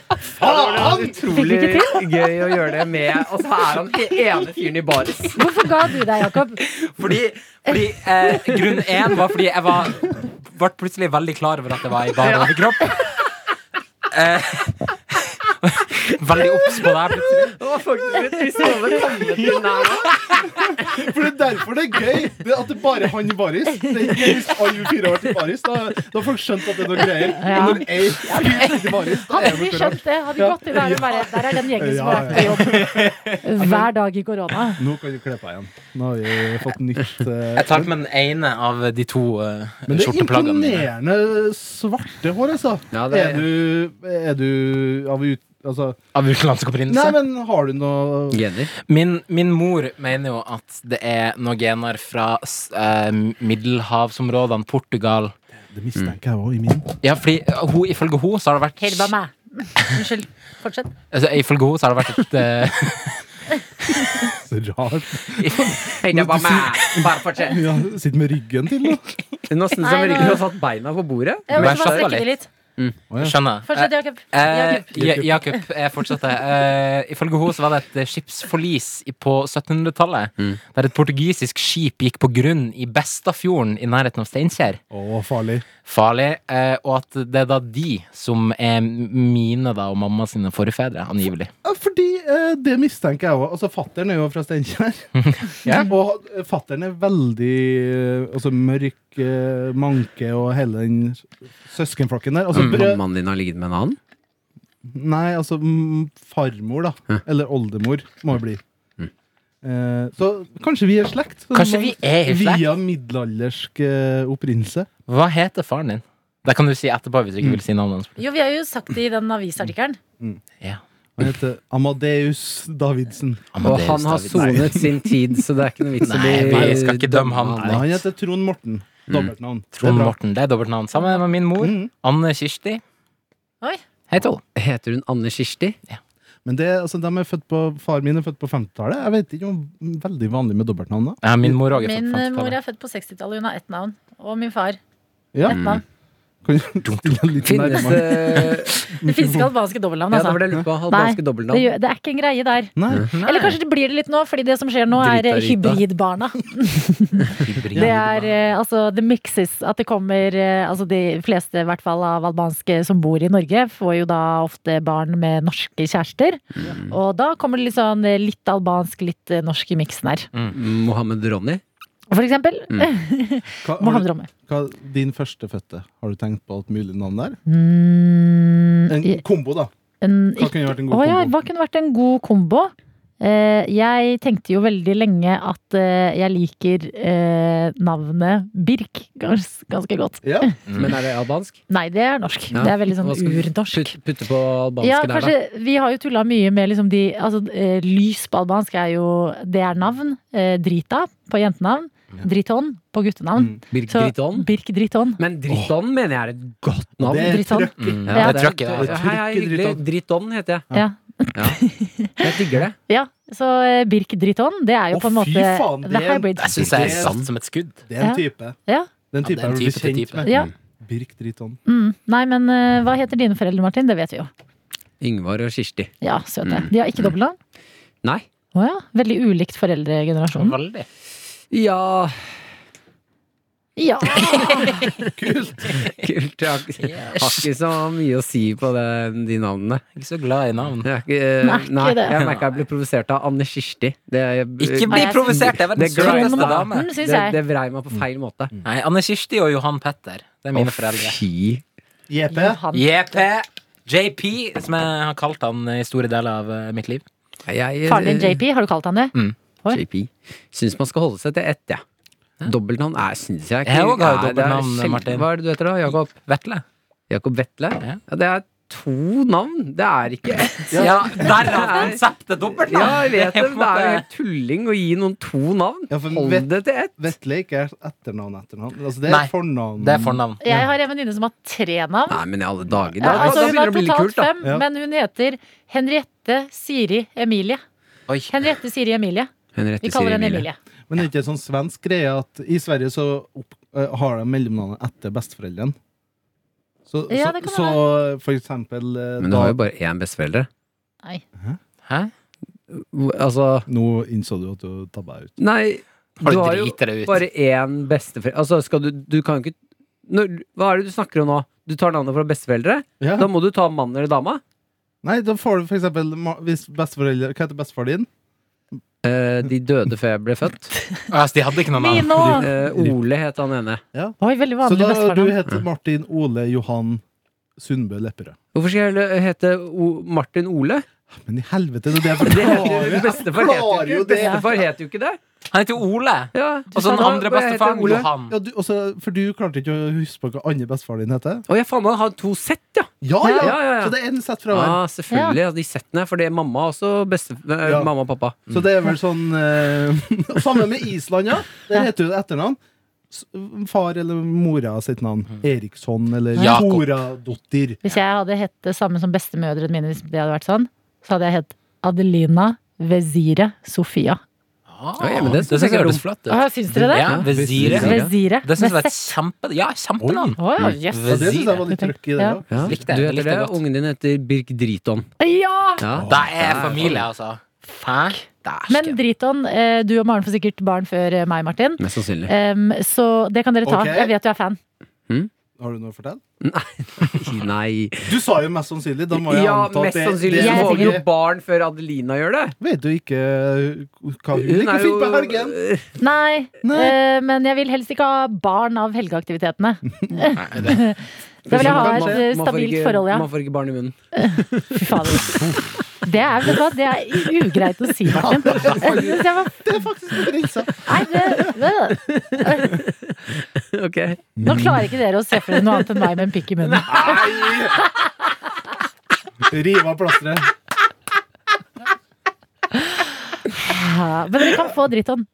S3: Utrolig
S2: Fikk ikke
S3: gøy å gjøre det med. Og så er han den ene fyren i baris.
S2: Hvorfor ga du deg, Jakob?
S4: Fordi, fordi eh, Grunn én var fordi jeg var ble plutselig veldig klar over at jeg var i bar overkropp. Eh, <laughs> veldig obs på det her plutselig.
S3: Det var faktisk litt trist å holde kommet til den her nå.
S5: For det er derfor det er gøy det er at det bare er han i baris. Det er gøy Hvis alle vi fire har vært i baris, da, da har folk skjønt at det er noe greier.
S2: Ja.
S5: Men når ei fyr sitter i baris, da
S2: Hadde vi
S5: er det noe rart.
S2: skjønt det, hadde vi gått inn der og bare Der er den gjengen som har vært på jobb <laughs> hver dag i korona.
S5: Nå kan du kle på deg igjen. Nå har vi fått nytt eh,
S4: Jeg tar med den ene av de to eh,
S5: Men det er
S4: skjorteplaggene mine.
S5: imponerende svarte hår, altså.
S3: Ja, det
S5: er...
S3: er-
S5: du, er du av ut... Altså
S4: Av utenlandsk
S5: Nei,
S4: opprinnelse.
S5: men har du noe
S3: Gener.
S4: Min, min mor mener jo at det er noen gener fra s- eh, middelhavsområdene, Portugal
S5: Det mistenker jeg òg, i min.
S4: Ja, fordi
S6: eh,
S4: hun, ifølge hun så har det vært
S2: Helva meg. Unnskyld. Fortsett.
S4: altså, Ifølge hun så har det vært et eh,
S5: Så rart.
S3: Hei, det var meg. Bare fortsett.
S5: Ja, sitter med ryggen til, da.
S3: Nå
S2: Nei,
S3: snudde han
S2: nå-
S3: virkelig og satt beina på bordet.
S2: Jeg
S4: Vær
S2: må bare
S4: så snill.
S2: strekke det litt.
S6: Skjønner.
S2: Fortsett, Jakob.
S6: Eh,
S2: Jakob.
S6: Ja- Jakob, jeg fortsetter. Eh, ifølge henne så var det et skipsforlis i- på 1700-tallet,
S3: Mm.
S6: der et portugisisk skip gikk på grunn i Bestafjorden i nærheten av Steinkjer.
S5: Å, farlig.
S6: Farlig. Eh, og at det er da de som er mine da, og mamma sine forfedre, angivelig.
S5: Ja, Fordi eh, det mistenker jeg òg. Altså, fattern er jo fra
S6: <laughs>
S5: Steinkjer. Og fattern er veldig eh, altså, mørk, eh, manke og hele den søskenflokken der. Altså, brø
S3: Mammaen din har ligget med en annen?
S5: Nei, altså mm, farmor, da. Eller oldemor, må det bli. Eh, så kanskje vi er slekt? Så
S6: Kanskje
S5: man-
S6: vi er i slekt?
S5: Via middelaldersk eh, opprinnelse.
S6: Hva heter faren din? Det kan du si etterpå hvis du ikke vil si navnet hans.
S2: Jo, vi har jo sagt det i den avisartikkelen.
S5: Han heter Amadeus Davidsen.
S3: Og han har
S6: Amadeus Davidsen.
S3: sonet sin tid, så det er ikke noe vits i å
S6: Nei,
S3: bli-
S6: vi skal ikke dømme han.
S5: Nei, han heter Trond Morten. Dobbeltnavn. Det er
S6: Trond
S5: bra.
S6: Morten. Det er dobbeltnavn. Sammen med min mor.
S5: Mm.
S6: Anne Kirsti.
S2: Oi.
S6: Heter hun.
S3: Heter hun Anne Kirsti?
S5: Men det, altså, de er født på, far min er født på 50-tallet. Jeg vet ikke om veldig vanlig med dobbeltnavn. da
S6: Ja, min mor òg er
S2: Min eh, mor
S6: født
S2: er født på 60-tallet, hun har ett navn. Og min far.
S5: Ja.
S6: Mm.
S2: Ett navn.
S5: <laughs> Kan du stille en litt
S3: Finnes <laughs>
S5: nærmere?
S3: det
S2: Det finnes ikke albanske dobbeltnavn,
S3: Ja, det
S2: altså.
S3: var det jeg lurte på.
S2: Nei,
S3: Albanske
S2: Det,
S3: dobbeltnavn.
S2: gjør, det er ikke en greie der.
S5: Nei.
S6: Mm.
S2: Eller kanskje det blir det litt nå, fordi det som skjer nå, er eh,
S3: Drita-Rita.
S2: hybridbarna. Det er eh, altså the mixes. At det kommer eh, altså De fleste i hvert fall av albanske som bor i Norge, får jo da ofte barn med norske kjærester.
S3: Mm.
S2: Og da kommer det litt sånn eh, litt albansk, litt eh, norsk i miksen her.
S3: Mm. Mohammed Ronny.
S2: For eksempel
S3: Mm.
S2: eh,
S5: Hva, har
S2: Mohammed
S5: du,
S2: Romme.
S5: hva, din førstefødte, har du tenkt på alt mulig navn der?
S2: Mm,
S5: En
S2: i-
S5: kombo, da.
S2: en-
S5: Hva kunne vært en god
S2: Å ja,
S5: kombo?
S2: hva kunne vært en god kombo? Eh, jeg tenkte jo veldig lenge at eh, jeg liker eh, navnet Birk gans, ganske godt.
S5: Ja.
S3: Men er det albansk?
S2: Nei, det er norsk.
S3: Ja.
S2: Det er veldig sånn
S3: Hva skal du
S2: urnorsk.
S3: Putt, putte på albanske
S2: Ja,
S3: der,
S2: kanskje, vi har jo tulla mye med liksom de altså, eh, Lys på albansk er jo Det er navn. Eh, drita på jentenavn. Driton på guttenavn.
S5: Mm.
S3: da. Birk
S2: Så
S3: Driton.
S2: Birk Driton.
S3: Men Driton mener jeg er et godt navn.
S5: Det er
S2: Driton.
S5: trøkk.
S6: Mm.
S2: Ja.
S6: Det er trøkk i det.
S5: Ja.
S3: Hei, hei, hyggelig.
S5: Driton.
S3: Driton heter jeg.
S2: Ja.
S3: Jeg digger det.
S2: Ja, så eh, Birk Driton, det er jo
S5: Å,
S2: på en
S5: fy
S2: måte
S5: faen, det
S2: the
S5: er en- altså,
S2: hybrid.
S6: Jeg syns jeg er
S5: Det-
S6: satt som et skudd.
S5: <laughs> Det er
S2: Ja.
S5: en type.
S2: Ja.
S5: Den
S6: det er
S5: typen
S6: en
S5: jeg blir
S6: type til
S5: kjent
S6: type.
S5: med.
S2: Ja.
S5: Birk Driton.
S2: Mm. Nei, men eh, hva heter dine foreldre, Martin? Det vet vi jo.
S3: Yngvar og Kirsti.
S2: Ja, søte. De har ikke dobbeltnavn?
S3: Nei.
S2: Å ja. Veldig ulikt foreldregenerasjonen.
S6: Veldig.
S3: Ja,
S2: Ja.
S5: Kult!
S3: <laughs> kult. Jeg har, ikke- har ikke så mye å si på det, de navnene.
S6: Ikke så glad i navn.
S3: Jeg, er ikke- eh,
S2: Merker
S3: nei,
S2: det.
S3: jeg merker jeg ble provosert av Anne Kirsti. Det,
S6: Ikke
S2: bli
S6: bli
S2: jeg-
S6: provosert! Det er
S3: Det
S6: verdens
S3: søteste
S6: søteste
S2: Trond
S6: dame.
S2: Morten,
S3: det,
S2: syns jeg.
S3: det vrei meg på feil måte.
S6: Nei, Anne Kirsti og Johan Petter. Det er mine
S3: Å,
S6: foreldre.
S3: Fy.
S5: JP.
S2: Johan.
S6: JP. JP, som jeg har kalt han i store deler av eh, mitt liv.
S3: Jeg,
S2: Faren din JP, har du kalt han det? Oi.
S3: JP. Syns man skal holde seg til ett, ja. Dobbeltnavn er, syns jeg
S6: Jeg også har jo
S3: Nei, det er
S6: dobbeltnavn,
S3: sjelden.
S6: Martin.
S3: Hva er det du heter da? Jakob?
S6: Vetle.
S3: Jakob Vetle?
S6: Ja.
S3: Ja, det er to navn. Det er ikke ett.
S6: Ja, derav konseptet
S3: Ja,
S6: dobbeltnavn!
S3: jeg vet
S6: Det er
S3: det, men
S6: på en
S3: det er jo
S6: måte-
S3: helt tulling å gi noen to navn.
S5: Ja, for
S3: Hold
S5: Vet-
S3: det til ett.
S5: Vetle ikke er etternavn etternavn. Altså, det er
S6: Nei,
S5: fornavn.
S6: Det er fornavn.
S2: Jeg har en venninne som har tre navn.
S3: Nei, men i alle dager.
S2: Ja,
S3: Da,
S2: altså,
S3: da
S2: hun
S3: begynner
S2: har
S3: det å bli litt
S2: totalt
S3: kult, da.
S2: fem,
S5: Ja.
S2: men hun heter Henriette Siri Emilie.
S6: Oi.
S2: Henriette Siri Emilie. Vi kaller henne Emilie.
S5: Men det er ikke en sånn svensk greie at i Sverige så opp, eh, har de mellomnavnet etter besteforeldrene. Så,
S2: Ja, det kan
S5: så, så for eksempel eh,
S3: Men du
S5: da,
S3: har jo bare én besteforeldre.
S2: Nei.
S6: Hæ?
S3: Hvor- Altså
S5: Nå innså du at du tabba ut.
S3: Nei,
S6: Har
S3: du
S6: du
S3: har jo
S6: driti deg ut?
S3: bare én besteforeldre. Altså, skal du Du kan jo ikke Når, Hva er det du snakker om nå? Du tar navnet fra besteforeldre?
S5: Ja.
S3: Da må du ta mannen eller dama.
S5: Nei, da får du for eksempel ma- hvis besteforeldre Hva heter bestefar din?
S3: Eh, de døde før jeg ble født. <laughs>
S6: Altså, de hadde ikke noe navn.
S2: Mino!
S3: Eh, Ole het han ene.
S2: Oi, veldig
S5: Så
S2: vanlig
S5: da du
S2: bestefar.
S5: heter Martin Ole Johan Sundbø Lepperød.
S3: Hvorfor skal jeg le- hete o Martin <laughs> Ole?
S5: Men i helvete, det er
S3: Det
S5: det jeg
S3: heter jo Bestefar
S5: klarer
S3: heter jo
S5: jo
S3: ikke
S5: det.
S3: Bestefar heter jo ikke det.
S6: Han heter jo Ole.
S3: Ja.
S6: Og så den
S3: Da-
S6: andre
S3: og jeg heter
S6: bestefaren,
S3: Ole.
S6: Johan.
S5: ja, du, også, For du klarte ikke å huske på hva andre bestefar din heter?
S3: Å, jeg faen meg har to sett, ja!
S5: Ja,
S3: Ja,
S5: ja!
S3: ja, ja. Ah.
S5: Så det er en sett fra hver.
S3: Ja, selvfølgelig. Ja. De settene. For det er mamma også. Beste, eh,
S5: Ja.
S3: Mamma og pappa.
S5: Så det er vel sånn eh, <laughs> Samme med Island, ja. Der heter jo det etternavn. S- Far eller mora sitt navn.
S3: Mm.
S5: Eriksson eller
S6: Jakob.
S5: Toradottir.
S2: Hvis jeg hadde hett det samme som bestemødrene mine, hvis det hadde vært sånn, så hadde jeg hett Adelina Vezire Sofia.
S6: Å,
S3: Oi, men det synes jeg
S6: synes
S3: er
S6: hørtes
S3: dumt.
S6: flott ut.
S2: Åh, syns dere det?
S6: Ja, Vezire.
S3: Vezire.
S2: Vezire.
S6: Det synes jeg var
S2: Med
S6: et kjempe... Ja, kjempenavn.
S2: sekk. Åja,
S3: Mm.
S2: jøss.
S5: Ja, det synes jeg var litt
S2: Vezir.
S5: trøkk i det
S2: Ja.
S5: òg.
S3: Ja.
S6: Likte jeg,
S3: Du heter det,
S6: likte jeg godt.
S3: ungen din heter Birk Driton.
S2: Ja!
S3: Ja.
S6: Da er familie, altså. Fuck.
S2: Men Driton, eh, du og Maren får sikkert barn før eh, meg, Martin.
S3: Mest sannsynlig.
S2: Em, så det kan dere ta.
S5: Ok.
S2: Jeg vet du er fan.
S5: Har du noe å fortelle?
S3: <laughs> Nei.
S5: Du sa jo mest sannsynlig. Da må jeg
S3: Ja,
S5: anta at
S3: mest
S5: det-
S3: sannsynlig
S5: det-
S3: så
S2: Jeg
S3: får vi jo
S5: det-
S3: barn før Adelina gjør det.
S5: Vet du ikke eh, hva hun liker fint på helgen?
S3: <laughs>
S2: Nei,
S5: Nei.
S2: eh, men jeg vil helst ikke ha barn av
S3: <laughs>
S2: helgeaktivitetene. <laughs> Da vil jeg ha et eh,
S3: sånn Man får
S2: stabilt
S3: ikke-
S2: forhold, ja.
S3: Man får ikke barn i munnen.
S2: Fy fader. Det er, vet du hva, det er ugreit å si,
S3: <laughs>
S2: Martin. Det synes jeg var
S5: Det er faktisk på grensa.
S2: Nei, det, det.
S3: <laughs> Ok.
S2: Nå klarer ikke dere å se for dere noe annet enn meg med en pikk i munnen.
S5: Rive av plasteret.
S2: Ja, Men dere kan få <laughs> dritton.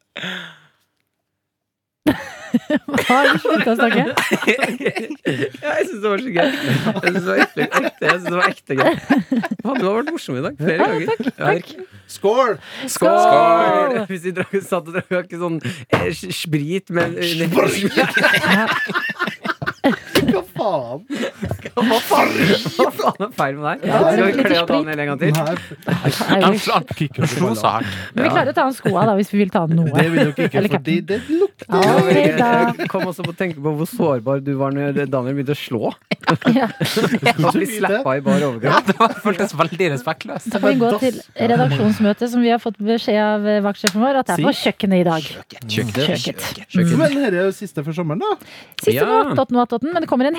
S2: Har du slutta å snakke?
S3: Ja, <laughs> jeg syns det var så gøy. Jeg syns det var ekte, ekte, jeg synes det var ekte gøy. Faen, du har vært morsom i dag. Flere ganger. Ja, virkelig.
S5: Skål!
S3: Skål!
S2: Skål!
S3: <laughs> Hvis vi drakk, satt og drakk ikke sånn eh, s- sprit, men <laughs>
S5: Hva faen?
S3: Hva faen Hva faen er feil med deg?
S2: Ja,
S3: Skal vi
S2: litt
S3: kle av
S2: sprit.
S3: Daniel en gang til?
S5: Nei,
S6: Han han slo så hardt.
S2: Men vi klarer å ta av skoa da, hvis vi vil ta av noe.
S5: det vil dere ikke,
S2: Eller
S5: fordi
S2: cap'n.
S5: det lukter
S2: Ja,
S3: Ja,
S2: ok, da.
S3: Jeg kom også på å tenke på hvor sårbar du var når Daniel begynte å slå. <laughs>
S2: Ja.
S3: Da vi slappa i bar overkropp.
S6: Det var- føltes veldig respektløst.
S2: Da får vi gå til redaksjonsmøte, som vi har fått beskjed av eh, vaktsjefen vår, at det er på kjøkkenet i dag. Kjøkket.
S5: Men dette er jo siste for sommeren, da.
S2: Siste nå,
S3: Ja. Ah.
S2: attåt nå, attåt den, men det kommer en